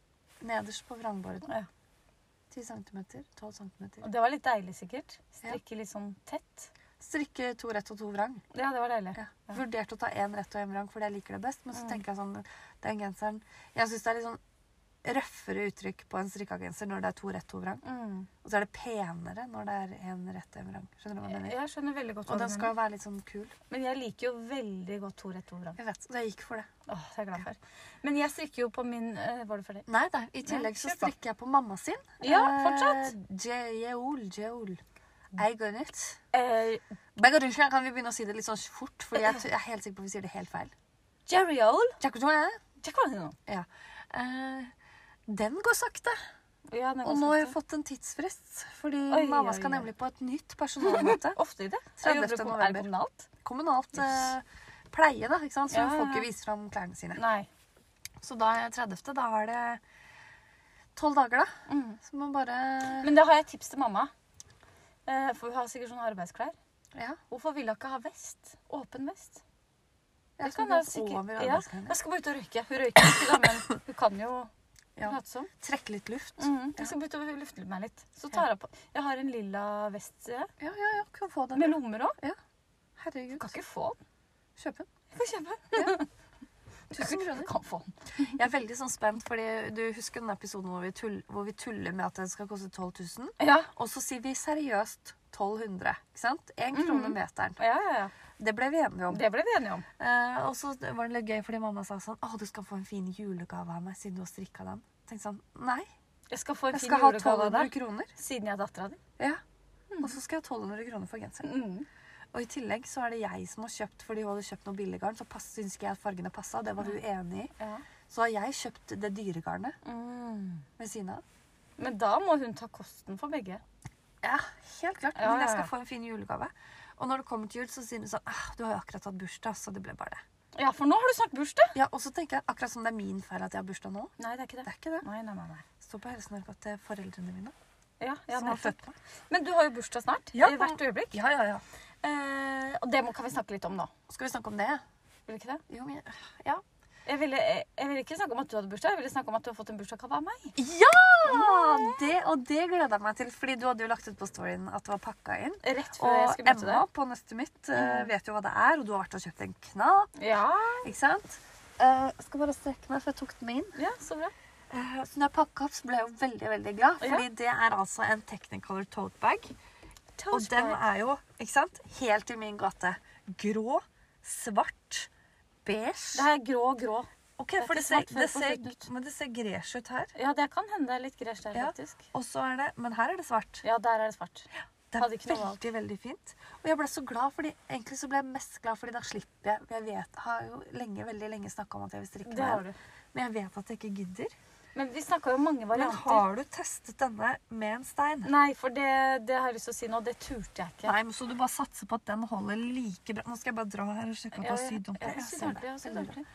Speaker 2: Nederst på vrangborden.
Speaker 1: Ja.
Speaker 2: 10 cm, 12 cm.
Speaker 1: Og det var litt deilig, sikkert. Strikke litt sånn tett.
Speaker 2: Strikke to rett og to vrang.
Speaker 1: Ja, det var deilig.
Speaker 2: Ja.
Speaker 1: Ja.
Speaker 2: Vurderte å ta én rett og én vrang fordi jeg liker det best, men så tenker jeg sånn Den genseren Jeg syns det er litt sånn røffere uttrykk på en strikka genser når det er to rett, to vrang.
Speaker 1: Mm.
Speaker 2: Og så er det penere når det er én rett, én vrang. Skjønner du hva jeg
Speaker 1: Jeg,
Speaker 2: mener?
Speaker 1: jeg skjønner veldig godt hva
Speaker 2: Og
Speaker 1: du
Speaker 2: den skal
Speaker 1: mener.
Speaker 2: jo være litt sånn kul.
Speaker 1: Men jeg liker jo veldig godt to rett over hverandre.
Speaker 2: Jeg vet, så jeg gikk for det.
Speaker 1: Åh, det er jeg glad for. Men jeg strikker jo på min eh, Var det for det?
Speaker 2: Nei da. I tillegg så
Speaker 1: kjør på.
Speaker 2: strikker jeg på mamma sin.
Speaker 1: Eh, Ja, fortsatt.
Speaker 2: Mm. Eh, Jeol, jeol. Eigonit.
Speaker 1: Eh,
Speaker 2: Bagadusjen, kan vi begynne å si det litt sånn fort? Fordi jeg, t- jeg er helt sikker på at vi sier det helt feil.
Speaker 1: Jerryol.
Speaker 2: Jakujoe.
Speaker 1: Check hva det er nå.
Speaker 2: Ja. Eh, den går sakte.
Speaker 1: Ja, den
Speaker 2: Og
Speaker 1: går
Speaker 2: nå har jeg
Speaker 1: sakte.
Speaker 2: fått en tidsfrist. Fordi
Speaker 1: Oi,
Speaker 2: mamma
Speaker 1: oi,
Speaker 2: skal
Speaker 1: oi.
Speaker 2: nemlig på et nytt personalmøte.
Speaker 1: Ofte i det.
Speaker 2: 30.
Speaker 1: Jeg jobber på- Er
Speaker 2: november.
Speaker 1: det kommunalt?
Speaker 2: Kommunalt eh, pleie, da. Ikke sant? Så
Speaker 1: Ja,
Speaker 2: hun får
Speaker 1: ja,
Speaker 2: ikke
Speaker 1: ja.
Speaker 2: vise fram klærne sine.
Speaker 1: Nei.
Speaker 2: Så da er jeg 30. Da er det tolv dager, da.
Speaker 1: Mm.
Speaker 2: Så må bare
Speaker 1: Men da har jeg et tips til mamma. Eh, For hun har sikkert sånne arbeidsklær.
Speaker 2: Ja.
Speaker 1: Hvorfor vil hun ikke ha vest? Åpen vest.
Speaker 2: Jeg
Speaker 1: Det kan
Speaker 2: gå
Speaker 1: hun sikkert
Speaker 2: over
Speaker 1: ja.
Speaker 2: arbeidsgangen.
Speaker 1: Jeg skal bare ut og røyke. Hun røyker ikke, da, men hun kan jo
Speaker 2: Ja. Mm.
Speaker 1: late som.
Speaker 2: Trekke litt luft.
Speaker 1: Mhm,
Speaker 2: Ja.
Speaker 1: Jeg skal bytte og lufte meg litt. Så tar jeg på Jeg har en lilla vest jeg,
Speaker 2: Ja, ja, ja. Kan få den.
Speaker 1: med lommer òg.
Speaker 2: Herregud.
Speaker 1: Kan ikke få den.
Speaker 2: Kjøp den.
Speaker 1: Jeg kan kjøpe den.
Speaker 2: Tusen kroner.
Speaker 1: Kan få den.
Speaker 2: Jeg er veldig sånn spent, fordi du husker den episoden hvor vi, tull, hvor vi tuller med at det skal koste 12 000?
Speaker 1: Ja,
Speaker 2: Og så sier vi seriøst 1200. ikke sant? Én
Speaker 1: Mhm.
Speaker 2: krone meteren.
Speaker 1: ja, ja, ja.
Speaker 2: Det ble vi enige om.
Speaker 1: Det ble vi enige om.
Speaker 2: Eh, og så var det litt gøy fordi mamma sa sånn Å, du skal få en fin julegave av meg siden du har strikka den. Tenkte sånn Nei,
Speaker 1: Jeg skal få en
Speaker 2: jeg
Speaker 1: fin
Speaker 2: skal ha
Speaker 1: julegave av
Speaker 2: 1200
Speaker 1: deg
Speaker 2: kroner.
Speaker 1: siden jeg er dattera di.
Speaker 2: Ja. Og så skal jeg ha 1200 kroner for genseren.
Speaker 1: Mhm.
Speaker 2: Og i tillegg så er det jeg som har kjøpt fordi hun hadde kjøpt noe billiggarn. Så pass- syns ikke jeg at fargene passa, og det var hun enig i.
Speaker 1: Ja.
Speaker 2: Så har jeg kjøpt det dyregarnet
Speaker 1: Mhm.
Speaker 2: ved siden av.
Speaker 1: Men da må hun ta kosten for begge.
Speaker 2: Ja, helt klart.
Speaker 1: Ja,
Speaker 2: Men jeg
Speaker 1: ja,
Speaker 2: skal
Speaker 1: ja.
Speaker 2: få en fin julegave. Og når det kommer til jul, så sier hun sånn ah, Du har jo akkurat hatt bursdag, så det ble bare det.
Speaker 1: Ja, for nå har du snart bursdag.
Speaker 2: Ja, Og så tenker jeg akkurat som det er min feil at jeg har bursdag nå.
Speaker 1: Nei, det er ikke
Speaker 2: Det er ikke det.
Speaker 1: Nei, nei, nei, nei.
Speaker 2: Står på Helsenorge at det er foreldrene mine
Speaker 1: Ja, ja,
Speaker 2: som har
Speaker 1: nettopp.
Speaker 2: født meg.
Speaker 1: Men du har jo bursdag snart.
Speaker 2: Ja.
Speaker 1: I hvert øyeblikk.
Speaker 2: Ja, ja, ja.
Speaker 1: Eh, og det må, kan vi snakke litt om nå.
Speaker 2: Skal vi snakke om det?
Speaker 1: Vil du ikke det?
Speaker 2: Jo, men Ja!
Speaker 1: Jeg ville, jeg, jeg ville ikke snakke om at du hadde bursdag, jeg ville snakke om at du har fått en bursdagsgave av meg.
Speaker 2: ja! Det, og det gleder jeg meg til, fordi du hadde jo lagt ut på storyen at det var pakka inn.
Speaker 1: Rett før jeg
Speaker 2: Og
Speaker 1: skulle møte
Speaker 2: Emma
Speaker 1: deg.
Speaker 2: på nøstet mitt eh,
Speaker 1: Mhm.
Speaker 2: vet jo hva det er, og du har vært og kjøpt en knap.
Speaker 1: Ja,
Speaker 2: Ikke sant? Eh, skal bare strekke meg, for jeg tok den med inn.
Speaker 1: ja, så bra.
Speaker 2: Eh, Så når jeg pakka opp, så ble jeg jo veldig veldig glad.
Speaker 1: Ja.
Speaker 2: Fordi det er altså en Technicolor tote bag. Og den er jo ikke sant, helt i min gate. Grå, svart,
Speaker 1: Det
Speaker 2: beige.
Speaker 1: her er grå, grå.
Speaker 2: Ok,
Speaker 1: er
Speaker 2: for
Speaker 1: ikke
Speaker 2: det ser,
Speaker 1: svart før
Speaker 2: det
Speaker 1: på
Speaker 2: ser,
Speaker 1: slutten ut.
Speaker 2: men det ser gresj ut her.
Speaker 1: Ja, det kan hende det er litt gresj der,
Speaker 2: Ja.
Speaker 1: faktisk.
Speaker 2: Og så er det, Men her er det svart.
Speaker 1: Ja, der er det svart.
Speaker 2: Det er
Speaker 1: Hadde ikke noe valg.
Speaker 2: veldig veldig fint. Og jeg ble så glad, fordi egentlig så ble jeg mest glad fordi da slipper jeg Jeg vet, har jo lenge, veldig lenge snakka om at jeg vil strikke
Speaker 1: Det har
Speaker 2: meg,
Speaker 1: du.
Speaker 2: men jeg vet at jeg ikke gidder.
Speaker 1: Men vi snakka jo om mange
Speaker 2: Men
Speaker 1: varianter.
Speaker 2: har du testet denne med en stein?
Speaker 1: Nei, for det, det har jeg lyst til å si nå, det turte jeg ikke.
Speaker 2: Nei, men Så du bare satser på at den holder like bra. Nå skal jeg bare dra her og sjekke at du
Speaker 1: Ja,
Speaker 2: har
Speaker 1: ja,
Speaker 2: sydd
Speaker 1: ja,
Speaker 2: ordentlig. Jeg
Speaker 1: sydd
Speaker 2: ser
Speaker 1: ordentlig, ja, sydd
Speaker 2: Veldig bra.
Speaker 1: ordentlig.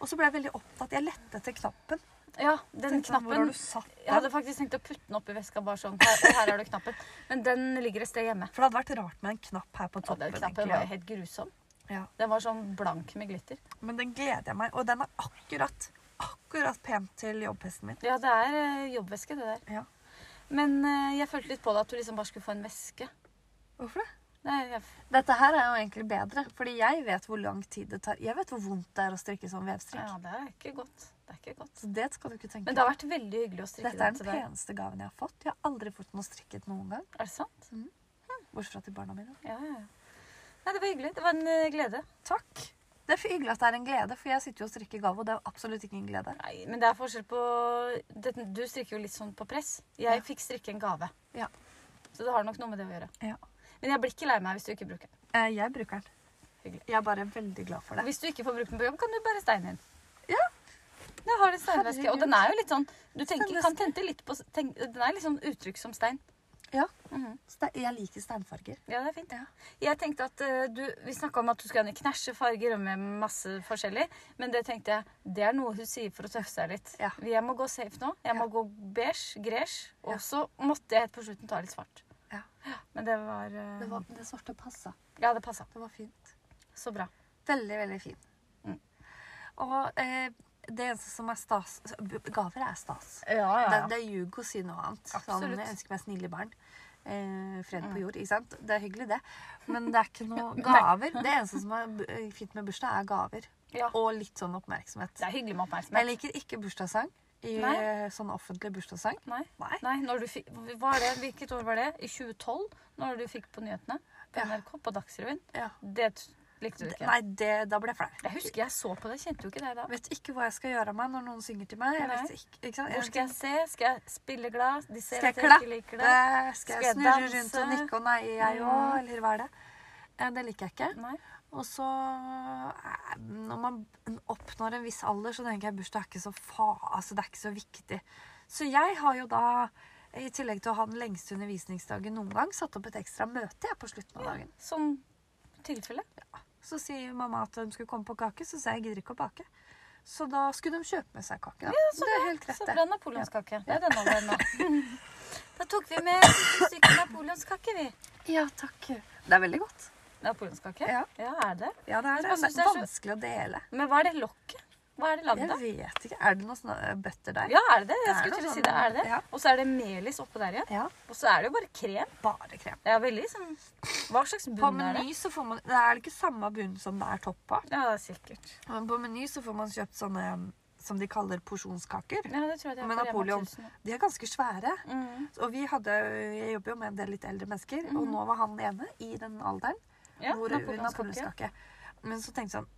Speaker 2: Og så ble jeg veldig opptatt. Jeg lette etter knappen.
Speaker 1: Ja, den
Speaker 2: Tenkte sånn, Hvor har
Speaker 1: knappen
Speaker 2: du satt
Speaker 1: Jeg hadde
Speaker 2: den?
Speaker 1: faktisk tenkt å putte den oppi veska bare sånn. Her, og her er du knappen. Men den ligger et sted hjemme.
Speaker 2: For det hadde vært rart med en knapp her på
Speaker 1: Og
Speaker 2: toppen.
Speaker 1: den knappen var
Speaker 2: egentlig,
Speaker 1: jo helt grusom.
Speaker 2: ja.
Speaker 1: Den var sånn blank med glitter.
Speaker 2: Ja. Men den gleder jeg meg, og den er akkurat, akkurat pen til jobbhesten min.
Speaker 1: Ja, det er eh, jobbveske, det der.
Speaker 2: Ja.
Speaker 1: Men eh, jeg følte litt på det at du liksom bare skulle få en veske.
Speaker 2: Hvorfor det?
Speaker 1: Nei, jeg,
Speaker 2: Dette her er jo egentlig bedre, fordi jeg vet hvor lang tid det tar. Jeg vet hvor vondt det er å strikke sånn vevstrikk.
Speaker 1: ja, det er ikke godt. Det er ikke godt.
Speaker 2: Så det skal du ikke tenke
Speaker 1: Men det har vært veldig hyggelig å strikke
Speaker 2: Dette er den
Speaker 1: den til deg.
Speaker 2: peneste gaven jeg har fått. Jeg har aldri fått noe strikket noen gang.
Speaker 1: Er det sant?
Speaker 2: Bortsett fra til barna mine.
Speaker 1: Ja, ja. ja. Nei, det var hyggelig. Det var en eh, glede.
Speaker 2: Takk. Det er for hyggelig at det er en glede, for jeg sitter jo og strikker gave, og det er absolutt ikke en glede.
Speaker 1: Nei, men det er forskjell på det, Du strikker jo litt sånn på press. Jeg
Speaker 2: Ja.
Speaker 1: fikk strikke en gave.
Speaker 2: Ja.
Speaker 1: Så det har nok noe med det å gjøre.
Speaker 2: Ja.
Speaker 1: Men jeg blir ikke lei meg hvis du ikke bruker den.
Speaker 2: Eh, Jeg bruker den.
Speaker 1: Hyggelig.
Speaker 2: Jeg er bare veldig glad for det.
Speaker 1: Hvis du ikke får brukt den på jobb, kan du bære steinen inn.
Speaker 2: Ja.
Speaker 1: Jeg har en steinveske, og den er jo litt sånn Du tenker,
Speaker 2: Steinveske.
Speaker 1: kan tente litt på tenk, Den er litt sånn uttrykk som stein.
Speaker 2: Ja.
Speaker 1: Mhm.
Speaker 2: Ste- Jeg liker steinfarger.
Speaker 1: Ja, det er fint.
Speaker 2: Ja.
Speaker 1: Jeg tenkte at eh, du, Vi snakka om at du skulle ha en i knæsje farger og med masse forskjellig. Men det tenkte jeg Det er noe hun sier for å tøffe seg litt.
Speaker 2: Ja.
Speaker 1: Jeg må gå safe nå. Jeg må gå beige, gresj. Og så måtte jeg helt på slutten ta litt svart.
Speaker 2: Ja.
Speaker 1: Men det var, eh,
Speaker 2: Det, var, det svarte passa.
Speaker 1: Ja, det passa.
Speaker 2: Det var fint.
Speaker 1: Så bra.
Speaker 2: Veldig, veldig fin.
Speaker 1: Mm.
Speaker 2: Og eh, det eneste som er stas Gaver er stas.
Speaker 1: Ja,
Speaker 2: Det, det er ljug å si noe annet. Sånn,
Speaker 1: Absolutt. Mm.
Speaker 2: jeg ønsker meg snille barn. Eh, fred på jord. ikke sant? Det er hyggelig, det. Men det er ikke noe
Speaker 1: Nei.
Speaker 2: gaver. Det eneste som er bu- eh, fint med bursdag, er gaver.
Speaker 1: Ja.
Speaker 2: Og litt sånn oppmerksomhet.
Speaker 1: Det er hyggelig med
Speaker 2: Jeg
Speaker 1: oppmerksomhet.
Speaker 2: liker ikke bursdagssang. I
Speaker 1: Nei.
Speaker 2: sånn offentlig bursdagssang.
Speaker 1: Nei.
Speaker 2: Nei.
Speaker 1: Nei, når du fikk, hva er det, Hvilket år var det? I 2012? Når du fikk på nyhetene? På
Speaker 2: Ja.
Speaker 1: NRK? På Dagsrevyen?
Speaker 2: Ja.
Speaker 1: Det t- likte du
Speaker 2: D-
Speaker 1: ikke?
Speaker 2: Nei, det, da ble jeg flau.
Speaker 1: Jeg husker jeg så på det. Kjente jo ikke det da.
Speaker 2: Jeg vet ikke hva jeg skal gjøre av meg når noen synger til meg. Jeg
Speaker 1: Nei.
Speaker 2: vet ikke, ikke sant?
Speaker 1: Hvor skal jeg se? Skal jeg spille glad? De ser
Speaker 2: Eh, Skal jeg
Speaker 1: at jeg ikke liker det.
Speaker 2: klappe? Skal
Speaker 1: Skal
Speaker 2: jeg
Speaker 1: jeg
Speaker 2: snurre
Speaker 1: danse?
Speaker 2: rundt og nikke og nei, jeg òg?
Speaker 1: Ja.
Speaker 2: Eller hva er det? Eh, Det liker jeg ikke.
Speaker 1: Nei.
Speaker 2: Og så eh, Når man oppnår en viss alder, så tenker jeg bursdag er ikke så fa... Altså, det er ikke så viktig. Så jeg har jo da, i tillegg til å ha den lengste undervisningsdagen noen gang, satt opp et ekstra møte jeg på slutten av dagen.
Speaker 1: Sånn tilfelle.
Speaker 2: Så sier mamma at hun skulle komme på kake, så sa jeg jeg gidder ikke å bake. Så da skulle de kjøpe med seg kake. Da. det er helt greit,
Speaker 1: Så
Speaker 2: det.
Speaker 1: bra napoleonskake. Det er denne alderen nå. Da tok vi med et stykke napoleonskake, vi.
Speaker 2: Ja, takk. Det er veldig godt.
Speaker 1: Napoleonskake?
Speaker 2: Ja.
Speaker 1: er det?
Speaker 2: Ja, det
Speaker 1: Men
Speaker 2: er det.
Speaker 1: jeg
Speaker 2: Det
Speaker 1: synes det
Speaker 2: er
Speaker 1: er så-
Speaker 2: vanskelig å dele.
Speaker 1: Men hva er det lokket? Hva er det lagd
Speaker 2: Jeg
Speaker 1: av?
Speaker 2: vet ikke. Er det noe sånn eh, butterdeig?
Speaker 1: Ja, er det det?
Speaker 2: Det
Speaker 1: Jeg
Speaker 2: er
Speaker 1: skulle
Speaker 2: noe
Speaker 1: til å si
Speaker 2: sånn-
Speaker 1: det. Er det?
Speaker 2: ja.
Speaker 1: Og så er det melis oppå der igjen.
Speaker 2: ja.
Speaker 1: Og så er det jo bare krem.
Speaker 2: Bare krem.
Speaker 1: Det er veldig sånn Hva slags
Speaker 2: På
Speaker 1: bunn er det?
Speaker 2: Meny så får man Det er ikke samme bunn som det er topp av.
Speaker 1: Ja, det er sikkert.
Speaker 2: Men på Meny så får man kjøpt sånne um, som de kaller porsjonskaker.
Speaker 1: Ja, det tror jeg det er
Speaker 2: Men
Speaker 1: på Rema
Speaker 2: Napoleon.
Speaker 1: 1000.
Speaker 2: De er ganske svære.
Speaker 1: Mm.
Speaker 2: Og vi hadde Jeg jobber jo med en del litt eldre mennesker, og nå var han ene i den alderen
Speaker 1: Ja,
Speaker 2: hvor
Speaker 1: napoleonskake.
Speaker 2: napoleonskake Men så tenkte jeg sånn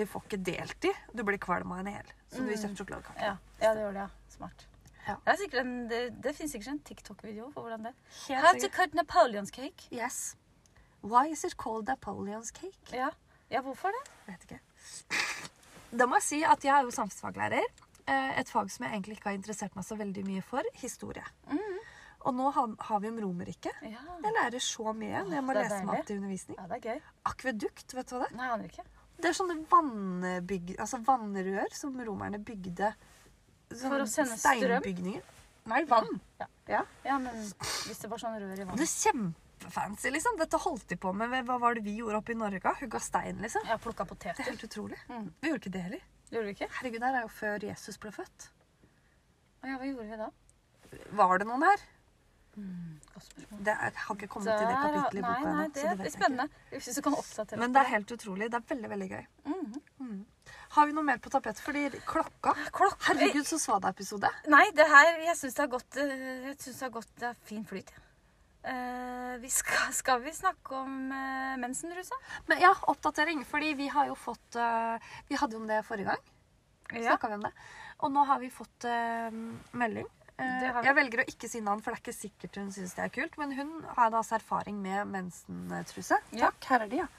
Speaker 2: Vi får ikke delt de. Du blir kvalm av en hel. Så vi
Speaker 1: Mm.
Speaker 2: kjøpte sjokoladekake.
Speaker 1: Ja. ja, det gjør det, ja. Smart.
Speaker 2: Ja.
Speaker 1: Det, er sikkert en, det, det finnes sikkert en TikTok-video for hvordan det
Speaker 2: Helt
Speaker 1: How to
Speaker 2: sikkert.
Speaker 1: cut Napoleon's cake.
Speaker 2: Yes. Why is it called Napoleon's cake?
Speaker 1: Ja, ja hvorfor det?
Speaker 2: Vet ikke. Da må jeg si at jeg er jo samfunnsfaglærer. eh, Et fag som jeg egentlig ikke har interessert meg så veldig mye for. Historie.
Speaker 1: Mm.
Speaker 2: Og nå har, har vi om Romerriket.
Speaker 1: Ja.
Speaker 2: Jeg lærer så mye når jeg må
Speaker 1: det er
Speaker 2: lese meg
Speaker 1: deilig.
Speaker 2: opp til undervisning.
Speaker 1: ja, det er gøy.
Speaker 2: Akvedukt, vet du hva det er?
Speaker 1: Nei, jeg aner ikke.
Speaker 2: Det er sånne vannbyg, altså vannrør som romerne bygde.
Speaker 1: For å sende strøm?
Speaker 2: steinbygninger. Nei, vann.
Speaker 1: Ja.
Speaker 2: Ja.
Speaker 1: Ja, men hvis det var sånn rør i
Speaker 2: Det
Speaker 1: vannet
Speaker 2: er kjempefancy, liksom. Dette holdt de på med. Hva var det vi gjorde oppe i Norge? Hugga stein, liksom.
Speaker 1: Jeg har plukka
Speaker 2: Det er
Speaker 1: poteter.
Speaker 2: helt utrolig.
Speaker 1: Mm.
Speaker 2: Vi gjorde ikke det heller.
Speaker 1: Gjorde du ikke?
Speaker 2: Herregud, det her er jo før Jesus ble født.
Speaker 1: Å Ja, hva gjorde vi da?
Speaker 2: Var det noen her?
Speaker 1: Godt spørsmål.
Speaker 2: Det er, jeg har ikke kommet
Speaker 1: Der,
Speaker 2: til det
Speaker 1: ja.
Speaker 2: kapittelet i
Speaker 1: nei,
Speaker 2: boka
Speaker 1: nei,
Speaker 2: ennå.
Speaker 1: det,
Speaker 2: så det vet
Speaker 1: blir
Speaker 2: jeg ikke.
Speaker 1: spennende. Hvis du kan oppdatere
Speaker 2: Men det er helt utrolig. Det er veldig, veldig gøy. Mm.
Speaker 1: Mhm.
Speaker 2: Har vi noe mer på tapet? Fordi klokka
Speaker 1: Klokk.
Speaker 2: Herregud, så svada-episode.
Speaker 1: Nei, det her Jeg syns det har gått eh, Jeg synes det har gått Det er fin flyt, jeg. Eh, vi skal, skal vi snakke om eh, mensenrusa?
Speaker 2: Men ja, oppdatering. Fordi vi har jo fått eh, Vi hadde jo om det forrige gang.
Speaker 1: Ja.
Speaker 2: Snakket vi om det. Og nå har vi fått eh, melding. Eh,
Speaker 1: Det har vi.
Speaker 2: jeg velger å ikke si navn, for det er ikke sikkert hun syns det er kult. Men hun har da altså erfaring med mensentruse.
Speaker 1: Ja.
Speaker 2: Takk, her er de, ja.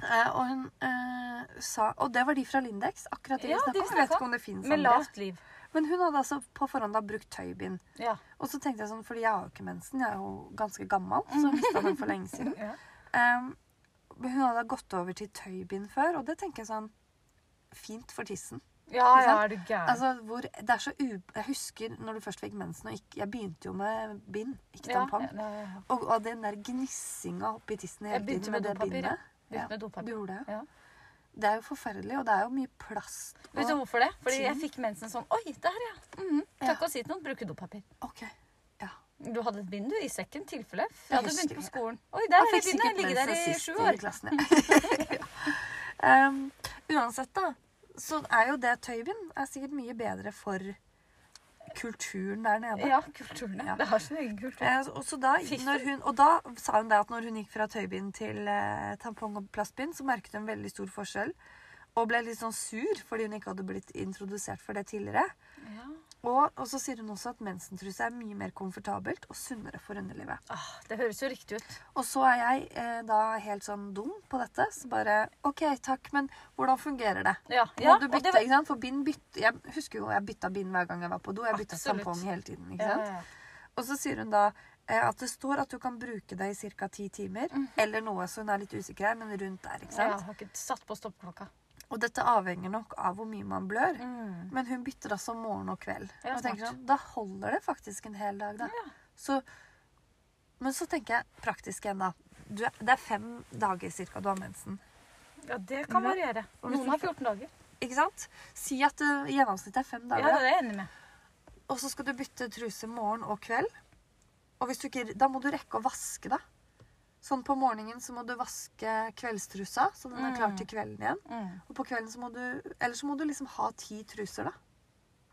Speaker 2: Eh, og hun eh, sa Og det var de fra Lindex. Akkurat de
Speaker 1: Ja,
Speaker 2: vi snakka om.
Speaker 1: de
Speaker 2: Jeg
Speaker 1: snakket
Speaker 2: vet ikke om Sånn det finnes
Speaker 1: Med
Speaker 2: andre.
Speaker 1: lavt liv.
Speaker 2: Men hun hadde altså på forhånd da brukt tøybind.
Speaker 1: Ja.
Speaker 2: Og så tenkte jeg sånn, fordi jeg har jo ikke mensen, jeg er jo ganske gammel, så jeg mistet den for lenge siden.
Speaker 1: ja.
Speaker 2: Ehm, men hun hadde gått over til tøybind før, og det tenker jeg sånn, fint for tissen.
Speaker 1: Ja,
Speaker 2: Ikke
Speaker 1: ja,
Speaker 2: sant?
Speaker 1: er du gæren.
Speaker 2: Altså, hvor, det er så u... Jeg husker når du først fikk mensen, og ikke, jeg begynte jo med bind, ikke
Speaker 1: ja,
Speaker 2: tampong.
Speaker 1: ja, ja, ja.
Speaker 2: Og, og den der gnissinga oppi tissen hele
Speaker 1: Jeg begynte
Speaker 2: tiden med
Speaker 1: med
Speaker 2: det
Speaker 1: dopapir.
Speaker 2: bindet.
Speaker 1: Begynte
Speaker 2: Ja,
Speaker 1: med
Speaker 2: Du
Speaker 1: dopapir.
Speaker 2: gjorde det,
Speaker 1: Ja.
Speaker 2: ja. Det er jo forferdelig, og det er jo mye plast. Og...
Speaker 1: Vet du hvorfor det? Fordi
Speaker 2: Ting.
Speaker 1: jeg fikk mensen sånn Oi, der, ja. Mhm.
Speaker 2: Ja.
Speaker 1: Takk å si til noen. Bruker dopapir.
Speaker 2: Ok, ja.
Speaker 1: Du hadde et bind du, i sekken, tilfelle. Ja,
Speaker 2: Jeg
Speaker 1: du
Speaker 2: husker
Speaker 1: begynte på
Speaker 2: det.
Speaker 1: skolen. Oi, der
Speaker 2: Jeg
Speaker 1: er
Speaker 2: fikk
Speaker 1: bindet. Jeg
Speaker 2: sikkert
Speaker 1: ligger der
Speaker 2: mensen
Speaker 1: i
Speaker 2: sist
Speaker 1: sju
Speaker 2: i
Speaker 1: år.
Speaker 2: klassen. ja. um, uansett, da, så er jo det tøybind er sikkert mye bedre for kulturen der nede.
Speaker 1: Ja, kulturen.
Speaker 2: Ja.
Speaker 1: Ja. Det har sin egen kultur.
Speaker 2: Eh, og, så da,
Speaker 1: Fy
Speaker 2: når hun, og da sa hun det at når hun gikk fra tøybind til eh, tampong og plastbind, så merket hun veldig stor forskjell. Og ble litt sånn sur fordi hun ikke hadde blitt introdusert for det tidligere.
Speaker 1: Ja.
Speaker 2: Og, og så sier hun også at mensentruse er mye mer komfortabelt og sunnere for underlivet.
Speaker 1: Ah, det høres jo riktig ut.
Speaker 2: Og så er jeg eh, da helt sånn dum på dette. Så bare OK, takk, men hvordan fungerer det?
Speaker 1: Ja,
Speaker 2: Må
Speaker 1: ja
Speaker 2: du
Speaker 1: og
Speaker 2: bytte,
Speaker 1: det var-
Speaker 2: ikke sant? For bind bytte Jeg husker jo jeg bytta bind hver gang jeg var på do. Jeg bytta
Speaker 1: Absolutt.
Speaker 2: tampong hele tiden. ikke
Speaker 1: Ja,
Speaker 2: sant?
Speaker 1: ja, ja.
Speaker 2: Og så sier hun da eh, at det står at du kan bruke det i ca. ti timer. Eller noe, så hun er litt usikker her, men rundt der. ikke
Speaker 1: Mhm. Ja,
Speaker 2: sant?
Speaker 1: jeg har ikke satt på stoppklokka.
Speaker 2: Og dette avhenger nok av hvor mye man blør.
Speaker 1: Mm.
Speaker 2: Men hun bytter altså morgen og kveld.
Speaker 1: Ja,
Speaker 2: og tenker
Speaker 1: smart.
Speaker 2: sånn, Da holder det faktisk en hel dag, da.
Speaker 1: Ja.
Speaker 2: Så, men så tenker jeg praktisk igjen, da. Du, er- det er fem dager cirka du har mensen.
Speaker 1: Ja, det kan
Speaker 2: Ja.
Speaker 1: variere.
Speaker 2: Og hvis
Speaker 1: Noen
Speaker 2: du
Speaker 1: har
Speaker 2: ikke-
Speaker 1: 14 dager.
Speaker 2: Ikke sant? Si at uh, gjennomsnittet er fem
Speaker 1: Ja,
Speaker 2: dager.
Speaker 1: det
Speaker 2: da.
Speaker 1: er jeg enig med.
Speaker 2: Og så skal du bytte truse morgen og kveld. Og hvis du ikke, da må du rekke å vaske, da. Sånn på morgenen så må du vaske kveldstrusa, så den er klar
Speaker 1: Mm.
Speaker 2: til kvelden igjen.
Speaker 1: Mm.
Speaker 2: Og på kvelden så må du Eller så må du liksom ha ti truser, da.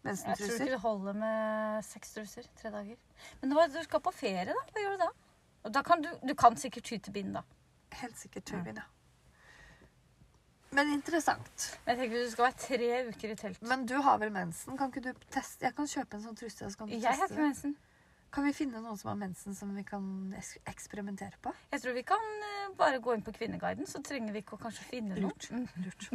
Speaker 1: Jeg tror ikke
Speaker 2: Mensentruser.
Speaker 1: det holder med seks truser. Tre dager. Men hva, du skal på ferie, da. Hva gjør du da? Og da kan du, du kan sikkert ty til bind, da.
Speaker 2: Helt sikkert turbin, ja. Men interessant.
Speaker 1: Men jeg tenker du skal være tre uker i telt.
Speaker 2: Men du har vel mensen? Kan ikke du teste Jeg kan kjøpe en sånn truse, og så kan du
Speaker 1: Jeg har
Speaker 2: teste
Speaker 1: ikke mensen.
Speaker 2: Kan vi finne noen som har mensen, som vi kan eks- eksperimentere på?
Speaker 1: Jeg tror vi kan eh, bare gå inn på Kvinneguiden, så trenger vi ikke å kanskje finne noe.
Speaker 2: Lurt.
Speaker 1: Mm,
Speaker 2: Lurt.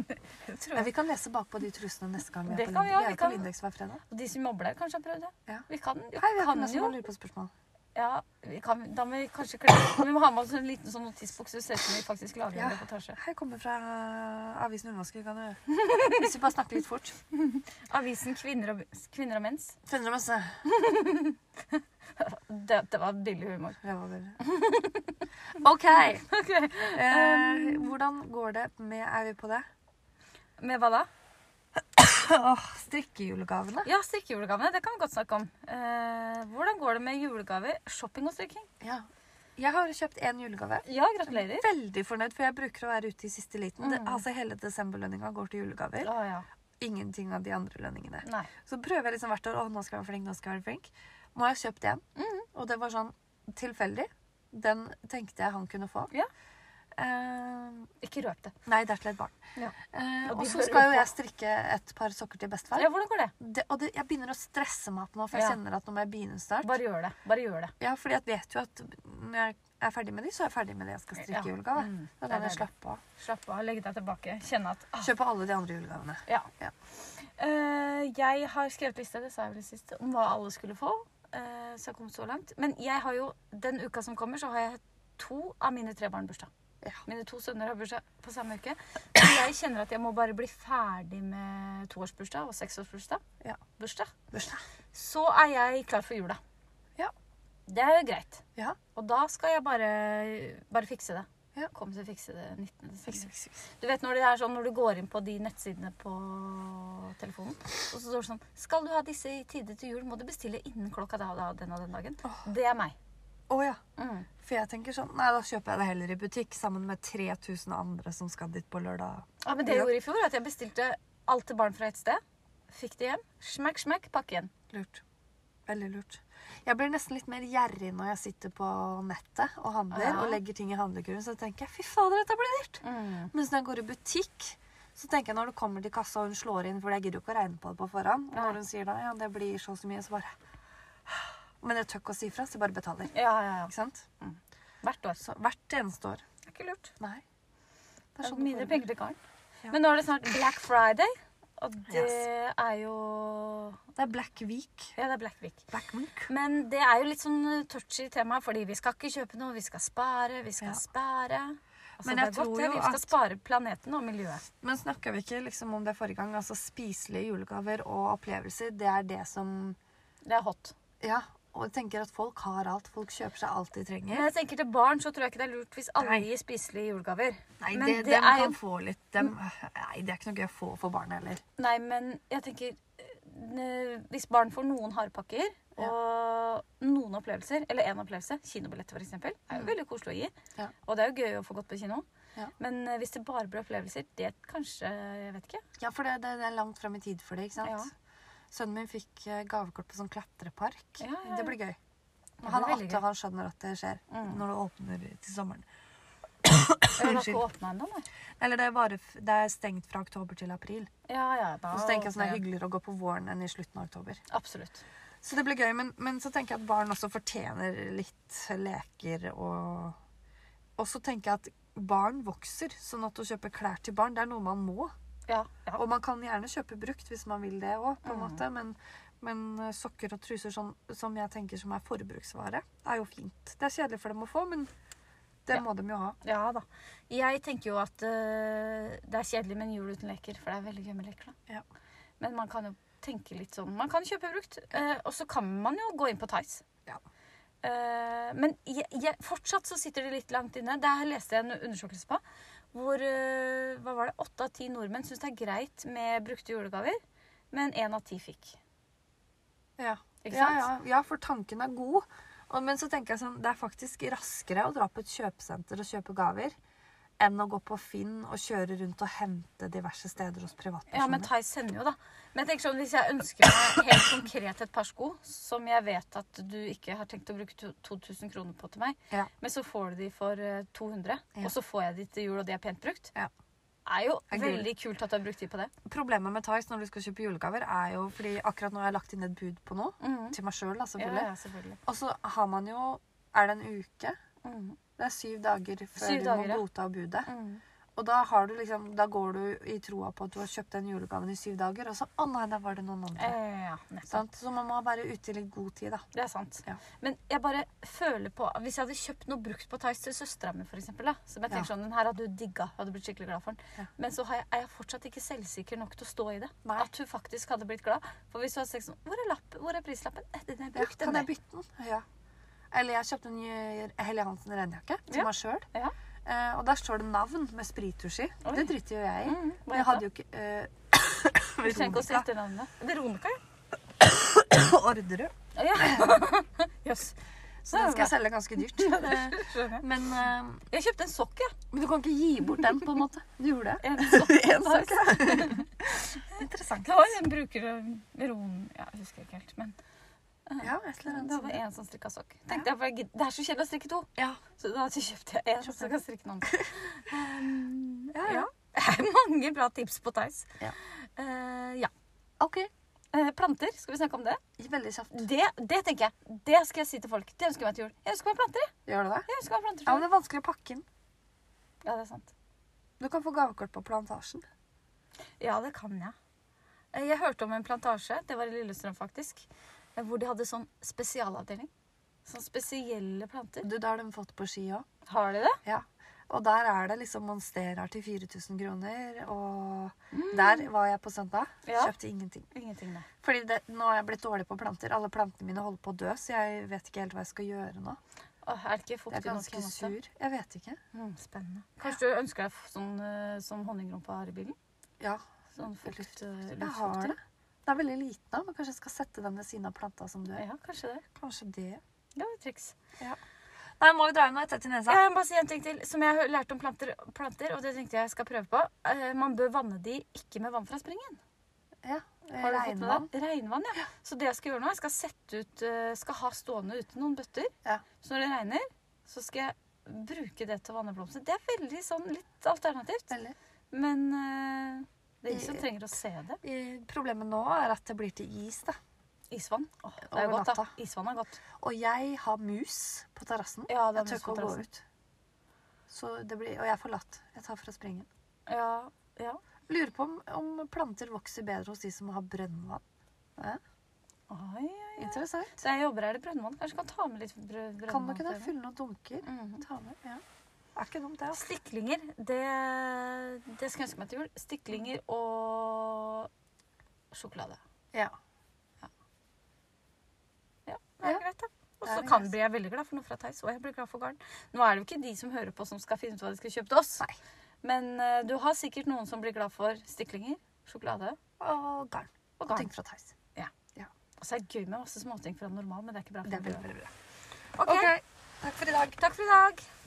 Speaker 1: jeg tror-
Speaker 2: Ja, vi kan lese bakpå de trusene neste gang vi er
Speaker 1: Det
Speaker 2: på
Speaker 1: kan vi
Speaker 2: Lind-
Speaker 1: ha,
Speaker 2: vi er
Speaker 1: vi
Speaker 2: jo på
Speaker 1: kan-
Speaker 2: Lindex hver fredag.
Speaker 1: Og de som jobber der, kanskje har prøvd det.
Speaker 2: Ja.
Speaker 1: Vi kan, vi
Speaker 2: Hei, vi er
Speaker 1: kan
Speaker 2: noen som
Speaker 1: jo
Speaker 2: bare lurer på spørsmål.
Speaker 1: ja, vi kan, Da må vi kanskje kle Vi må ha med oss en liten sånn notisbukse, så ser det ut som vi faktisk lager
Speaker 2: Ja.
Speaker 1: en reportasje.
Speaker 2: Hei, kommer fra eh, avisen Ullmasker, kan du Hvis vi bare snakker litt fort.
Speaker 1: Avisen Kvinner og, Kvinner og mens.
Speaker 2: Finner du masse?
Speaker 1: Det, det var billig humor.
Speaker 2: Det var vel OK.
Speaker 1: Ok.
Speaker 2: Eh, hvordan går det med Er vi på det?
Speaker 1: Med hva da?
Speaker 2: Åh, strikkejulegavene.
Speaker 1: Ja, strikkejulegavene. Det kan vi godt snakke om. Eh, hvordan går det med julegaver, shopping og strikking?
Speaker 2: Ja. Jeg har kjøpt én julegave.
Speaker 1: Ja, gratulerer.
Speaker 2: Veldig fornøyd, for jeg bruker å være ute i siste liten. Det,
Speaker 1: Mm.
Speaker 2: altså Hele desemberlønninga går til julegaver.
Speaker 1: Å ja.
Speaker 2: Ingenting av de andre lønningene.
Speaker 1: Nei.
Speaker 2: Så prøver jeg liksom hvert år å nå skal jeg være flink, nå skal jeg være flink. Nå har jeg kjøpt én,
Speaker 1: Mm.
Speaker 2: og det var sånn tilfeldig. Den tenkte jeg han kunne få.
Speaker 1: Ja.
Speaker 2: Eh,
Speaker 1: Ikke røp det.
Speaker 2: nei, det er til et barn.
Speaker 1: Ja.
Speaker 2: Eh,
Speaker 1: Og de
Speaker 2: og så
Speaker 1: hører
Speaker 2: skal jo
Speaker 1: på.
Speaker 2: jeg strikke et par sokker til bestefar.
Speaker 1: Ja, hvordan går det?
Speaker 2: Det, og det, jeg begynner å stresse meg opp nå, for jeg
Speaker 1: Ja.
Speaker 2: kjenner at nå må jeg begynne snart.
Speaker 1: Bare gjør det. Bare gjør det.
Speaker 2: Ja, fordi jeg vet jo at når jeg er ferdig med de, så er jeg ferdig med det jeg skal strikke
Speaker 1: Ja.
Speaker 2: i julegave.
Speaker 1: Mm.
Speaker 2: Da
Speaker 1: Det er
Speaker 2: kan jeg
Speaker 1: deilig.
Speaker 2: slappe av.
Speaker 1: Slapp av, legge deg tilbake. Kjenne at ah,
Speaker 2: Kjøpe alle de andre julegavene.
Speaker 1: Ja.
Speaker 2: Ja.
Speaker 1: Eh, jeg har skrevet liste, det sa jeg vel sist, om hva alle skulle få. eh, så jeg kom så langt. Men jeg har jo, den uka som kommer, så har jeg to av mine tre barn bursdag.
Speaker 2: Ja.
Speaker 1: Mine to sønner har bursdag på samme uke. Så jeg kjenner at jeg må bare bli ferdig med toårsbursdag og seksårsbursdag.
Speaker 2: Ja.
Speaker 1: Bursdag.
Speaker 2: Bursdag.
Speaker 1: Så er jeg klar for jula.
Speaker 2: Ja.
Speaker 1: Det er jo greit.
Speaker 2: Ja.
Speaker 1: Og da skal jeg bare, bare fikse det.
Speaker 2: Ja.
Speaker 1: Komme til å fikse det 19. desember.
Speaker 2: Fiks, fiks, fiks.
Speaker 1: Du vet når det er sånn når du går inn på de nettsidene på telefonen, og så står det sånn Skal du ha disse i tide til jul, må du bestille innen klokka da og da den og den dagen.
Speaker 2: Åh.
Speaker 1: Det er meg.
Speaker 2: Å ja.
Speaker 1: Mm.
Speaker 2: For jeg tenker sånn Nei, da kjøper jeg det heller i butikk sammen med 3000 andre som skal dit på lørdag.
Speaker 1: Ja, men det jeg
Speaker 2: Ja.
Speaker 1: gjorde i fjor, er at jeg bestilte alt til barn fra et sted. Fikk det hjem. Smekk, smekk, pakke igjen.
Speaker 2: Lurt. Veldig lurt. Jeg blir nesten litt mer gjerrig når jeg sitter på nettet og handler
Speaker 1: Ja.
Speaker 2: og legger ting i handlekurven, så tenker jeg fy fader, dette blir dyrt.
Speaker 1: Mm.
Speaker 2: Mens når jeg går i butikk, så tenker jeg når du kommer til kassa og hun slår inn, for jeg gidder jo ikke å regne på det på forhånd, og
Speaker 1: Nei.
Speaker 2: når hun sier da, ja, det blir så og så mye, så bare Men jeg tør ikke å si fra, så jeg bare betaler.
Speaker 1: Ja, ja, ja.
Speaker 2: Ikke sant?
Speaker 1: Hvert år.
Speaker 2: Så hvert eneste år.
Speaker 1: Det er ikke lurt.
Speaker 2: Nei. Det
Speaker 1: Det
Speaker 2: er
Speaker 1: er
Speaker 2: sånn det
Speaker 1: mindre
Speaker 2: foregår.
Speaker 1: penger til karen.
Speaker 2: Ja.
Speaker 1: Men nå er det snart Black Friday, og det
Speaker 2: Yes.
Speaker 1: er jo
Speaker 2: Det er Black Week.
Speaker 1: Ja, det er Black Week.
Speaker 2: Black Week.
Speaker 1: Men det er jo litt sånn eh, touchy tema, fordi vi skal ikke kjøpe noe, vi skal spare, vi skal
Speaker 2: Ja.
Speaker 1: spare. Altså,
Speaker 2: Men
Speaker 1: det
Speaker 2: jeg
Speaker 1: er godt,
Speaker 2: tror
Speaker 1: det,
Speaker 2: jo
Speaker 1: Vi skal
Speaker 2: at-
Speaker 1: spare planeten og miljøet.
Speaker 2: Men snakka vi ikke liksom om det forrige gang? Altså spiselige julegaver og opplevelser, det er det som
Speaker 1: Det er hot.
Speaker 2: Ja. Og jeg tenker at folk har alt. Folk kjøper seg alt de trenger.
Speaker 1: Men jeg tenker til barn så tror jeg ikke det er lurt hvis alle
Speaker 2: Nei.
Speaker 1: gir spiselige julegaver.
Speaker 2: Nei,
Speaker 1: men
Speaker 2: det,
Speaker 1: det
Speaker 2: dem
Speaker 1: er
Speaker 2: kan
Speaker 1: jo-
Speaker 2: få litt dem, Nei, det er ikke noe gøy å få for barn heller.
Speaker 1: Nei, men jeg tenker eh, Hvis barn får noen hardpakker
Speaker 2: Ja.
Speaker 1: og noen opplevelser, eller én opplevelse, kinobilletter f.eks., er jo veldig koselig å gi.
Speaker 2: Mm. Ja.
Speaker 1: Og det er jo gøy å få gått på kino.
Speaker 2: Ja.
Speaker 1: Men eh, hvis det bare blir opplevelser, det kanskje Jeg vet ikke.
Speaker 2: Ja, for det, det, det er langt frem i tid for det, ikke sant?
Speaker 1: Ja.
Speaker 2: Sønnen min fikk eh, gavekort på sånn klatrepark.
Speaker 1: Ja, ja, ja.
Speaker 2: Det blir gøy.
Speaker 1: blir
Speaker 2: Han er
Speaker 1: veldig
Speaker 2: 8,
Speaker 1: gøy.
Speaker 2: og han skjønner at det skjer
Speaker 1: Mm.
Speaker 2: når det åpner til sommeren.
Speaker 1: Jeg har
Speaker 2: Unnskyld.
Speaker 1: ikke åpna ennå, nei.
Speaker 2: Eller det er, bare, f- det er stengt fra oktober til april.
Speaker 1: Ja, ja, da
Speaker 2: Og så tenker jeg sånn, det
Speaker 1: åpner
Speaker 2: er hyggeligere å gå på våren enn i slutten av oktober.
Speaker 1: Absolutt.
Speaker 2: Så det blir gøy, men, men så tenker jeg at barn også fortjener litt leker og Og så tenker jeg at barn vokser, sånn at å kjøpe klær til barn, det er noe man må.
Speaker 1: Ja, ja.
Speaker 2: Og man kan gjerne kjøpe brukt hvis man vil det òg, på en
Speaker 1: Mm.
Speaker 2: måte. Men, men eh, sokker og truser som, som jeg tenker som er forbruksvare, er jo fint. Det er kjedelig for dem å få, men det
Speaker 1: Ja.
Speaker 2: må de jo ha.
Speaker 1: Ja da. Jeg tenker jo at eh, det er kjedelig med en jul uten leker, for det er veldig gøy med leker. da.
Speaker 2: Ja.
Speaker 1: Men man kan jo tenke litt sånn Man kan kjøpe brukt, eh, og så kan man jo gå inn på Tice.
Speaker 2: Ja.
Speaker 1: Eh, men jeg, jeg, fortsatt så sitter det litt langt inne. Der leste jeg en undersøkelse på hvor eh, hva var det, åtte av ti nordmenn syns det er greit med brukte julegaver, men én av ti fikk.
Speaker 2: Ja.
Speaker 1: Ikke
Speaker 2: Ja,
Speaker 1: sant?
Speaker 2: ja, ja, for tanken er god. Og, men så tenker jeg sånn, det er faktisk raskere å dra på et kjøpesenter og kjøpe gaver enn å gå på Finn og kjøre rundt og hente diverse steder hos privatpersoner.
Speaker 1: Ja, men Thais sender jo, da. Men jeg tenker sånn, hvis jeg ønsker meg helt konkret et par sko som jeg vet at du ikke har tenkt å bruke to- 2000 kroner på til meg,
Speaker 2: Ja.
Speaker 1: men så får du de for eh, 200,
Speaker 2: Ja.
Speaker 1: og så får jeg de til jul, og de er pent brukt,
Speaker 2: Ja.
Speaker 1: er jo
Speaker 2: Det er gull.
Speaker 1: veldig kult at du har brukt tid på det.
Speaker 2: Problemet med Tice når du skal kjøpe julegaver, er jo fordi akkurat nå har jeg lagt inn et bud på noe.
Speaker 1: Mhm.
Speaker 2: Til meg sjøl, da,
Speaker 1: Ja,
Speaker 2: selvfølgelig.
Speaker 1: ja, selvfølgelig.
Speaker 2: Og så Altså, har man jo Er det en uke?
Speaker 1: Mhm.
Speaker 2: Det er syv dager før
Speaker 1: Syv dager,
Speaker 2: du
Speaker 1: ja.
Speaker 2: må godta budet.
Speaker 1: Mhm.
Speaker 2: Og da, har du liksom, da går du i troa på at du har kjøpt den julegaven i syv dager, og så Å nei, der var det noen andre.
Speaker 1: Eh, ja, nettopp.
Speaker 2: Sant? Så man må være ute i litt god tid, da.
Speaker 1: Det er sant.
Speaker 2: Ja.
Speaker 1: Men jeg bare føler på Hvis jeg hadde kjøpt noe brukt på Tice til søstera mi, for eksempel, da, som jeg tenker
Speaker 2: Ja.
Speaker 1: sånn, den her hadde du digga, hadde blitt skikkelig glad for den.
Speaker 2: Ja.
Speaker 1: Men så har jeg, er jeg fortsatt ikke selvsikker nok til å stå i det.
Speaker 2: Nei.
Speaker 1: At hun faktisk hadde blitt glad. For hvis du hadde sagt sånn Hvor er, lapp, hvor er prislappen? Eh, Den er
Speaker 2: Ja,
Speaker 1: brukt,
Speaker 2: kan jeg
Speaker 1: den der.
Speaker 2: bytte den? Ja. Eller jeg kjøpte en ny Helly Hansen regnjakke til
Speaker 1: Ja.
Speaker 2: meg sjøl.
Speaker 1: Ja.
Speaker 2: Eh, og der står det navn med sprittusj i.
Speaker 1: Oi.
Speaker 2: Det driter jo jeg i.
Speaker 1: Mm, hva
Speaker 2: Men jeg
Speaker 1: heter
Speaker 2: hadde jo
Speaker 1: den?
Speaker 2: ikke eh,
Speaker 1: Du trenger ikke å si
Speaker 2: Veronica
Speaker 1: etternavnet. Veronica, ja.
Speaker 2: Orderud.
Speaker 1: Å, ja. Jøss.
Speaker 2: Så den skal jeg selge ganske dyrt. Men, eh,
Speaker 1: Skjønner.
Speaker 2: men, eh,
Speaker 1: Jeg kjøpte en sokk, jeg.
Speaker 2: men du kan ikke gi bort den, på en måte. Du gjorde det.
Speaker 1: En sokk.
Speaker 2: En sak, ja.
Speaker 1: Interessant. Det var en bruker eh, Veron... Ja, jeg husker ikke helt, men
Speaker 2: Ja, et eller
Speaker 1: det var
Speaker 2: annet.
Speaker 1: en som strikka sokk. Tenkte jeg, for jeg gid- Det er så kjedelig å strikke to.
Speaker 2: Ja,
Speaker 1: Så da kjøpte jeg en, så kan jeg strikke den andre. Um,
Speaker 2: ja, ja.
Speaker 1: Det er mange bra tips på Theis.
Speaker 2: Ja.
Speaker 1: Eh, ja.
Speaker 2: Ok.
Speaker 1: Eh, planter, skal vi snakke om det?
Speaker 2: Veldig kjapt.
Speaker 1: det? Det tenker jeg, det skal jeg si til folk. Det ønsker jeg meg til jul. Jeg ønsker meg planter. jeg.
Speaker 2: Gjør du det?
Speaker 1: Jeg ønsker meg
Speaker 2: Ja,
Speaker 1: planter til
Speaker 2: men
Speaker 1: jul.
Speaker 2: det er vanskelig å pakke inn.
Speaker 1: Ja, det er sant.
Speaker 2: Du kan få gavekort på Plantasjen.
Speaker 1: Ja, det kan jeg. Eh, Jeg hørte om en plantasje, det var i Lillestrøm faktisk, eh, hvor de hadde sånn spesialavdeling. Sånn spesielle planter.
Speaker 2: Du, da har de fått på ski òg.
Speaker 1: Har de det?
Speaker 2: Ja. Og der er det liksom monsterer til 4000 kroner, og der var jeg på søndag.
Speaker 1: Mm. Ja.
Speaker 2: Kjøpte ingenting.
Speaker 1: Ingenting, nei.
Speaker 2: Fordi det, nå har jeg blitt dårlig på planter. Alle plantene mine holder på å dø, så jeg vet ikke helt hva jeg skal gjøre nå.
Speaker 1: Åh, er det ikke
Speaker 2: Jeg er
Speaker 1: fuktig nok? i
Speaker 2: ganske
Speaker 1: matte?
Speaker 2: sur. Jeg vet ikke.
Speaker 1: Mm, spennende. Kanskje du ønsker deg f- sånn eh, som honningrumpa har i bilen?
Speaker 2: Ja,
Speaker 1: Sånn fukt,
Speaker 2: Luft-
Speaker 1: eh,
Speaker 2: jeg har
Speaker 1: luftfuktig.
Speaker 2: det. Den er veldig liten, da, men kanskje jeg skal sette den ved siden av planta som dør.
Speaker 1: Ja, kanskje det.
Speaker 2: Kanskje det.
Speaker 1: Ja, det er triks.
Speaker 2: Nei, må vi dra inn noe etter til nesa?
Speaker 1: Jeg må bare si en ting til, som jeg har lært om planter, planter og det tenkte jeg skal prøve på. Eh, Man bør vanne de ikke med vann fra springen.
Speaker 2: Ja.
Speaker 1: Har du fått med
Speaker 2: Regnvann.
Speaker 1: deg? Eh, Regnvann, ja. Så det jeg skal gjøre nå, jeg skal sette ut, eh, skal ha stående ute noen bøtter.
Speaker 2: Ja.
Speaker 1: Så når det regner, så skal jeg bruke det til å vanne blomster. Det er veldig sånn litt alternativt.
Speaker 2: Veldig.
Speaker 1: Men eh, det er ingen som trenger å se det.
Speaker 2: Eh, Problemet nå er at det blir til is, da.
Speaker 1: Isvann. Åh, det er
Speaker 2: Over
Speaker 1: godt, da.
Speaker 2: natta.
Speaker 1: Isvann er godt.
Speaker 2: Og jeg har mus på terrassen.
Speaker 1: Ja,
Speaker 2: Jeg tør
Speaker 1: det er mus på
Speaker 2: ikke å gå
Speaker 1: terrassen.
Speaker 2: ut. Så det blir, og jeg er forlatt. Jeg tar fra springen.
Speaker 1: Ja, ja.
Speaker 2: Lurer på om, om planter vokser bedre hos de som har brønnvann. Eh,
Speaker 1: Oi, oi.
Speaker 2: Interessant.
Speaker 1: Så jeg jobber her i Brønnvann. Kanskje kan ta med litt brø- brønnvann?
Speaker 2: Kan du ikke det?
Speaker 1: til
Speaker 2: Fylle noen dunker?
Speaker 1: Mhm.
Speaker 2: Ta med. Ja. Mm. Er ikke dumt, det. Altså.
Speaker 1: Stiklinger, det, det skal jeg ønske meg til jul. Stiklinger og sjokolade.
Speaker 2: Ja.
Speaker 1: Ja, det
Speaker 2: Ja,
Speaker 1: er greit, da. Og
Speaker 2: det er
Speaker 1: så
Speaker 2: det
Speaker 1: kan
Speaker 2: greit.
Speaker 1: bli jeg veldig glad for noe fra Theis, og jeg blir glad for garn. Nå er det jo ikke de som hører på som skal finne ut hva de skal kjøpe til oss.
Speaker 2: Nei.
Speaker 1: Men eh, du har sikkert noen som blir glad for stiklinger, sjokolade
Speaker 2: Og garn.
Speaker 1: og
Speaker 2: Og
Speaker 1: garn.
Speaker 2: ting fra Theis.
Speaker 1: Og så er det gøy med masse småting fra normal, men det er ikke bra
Speaker 2: Det er
Speaker 1: for
Speaker 2: veldig,
Speaker 1: miljøet.
Speaker 2: veldig bra.
Speaker 1: Ok,
Speaker 2: ok, takk for i dag.
Speaker 1: takk for i dag.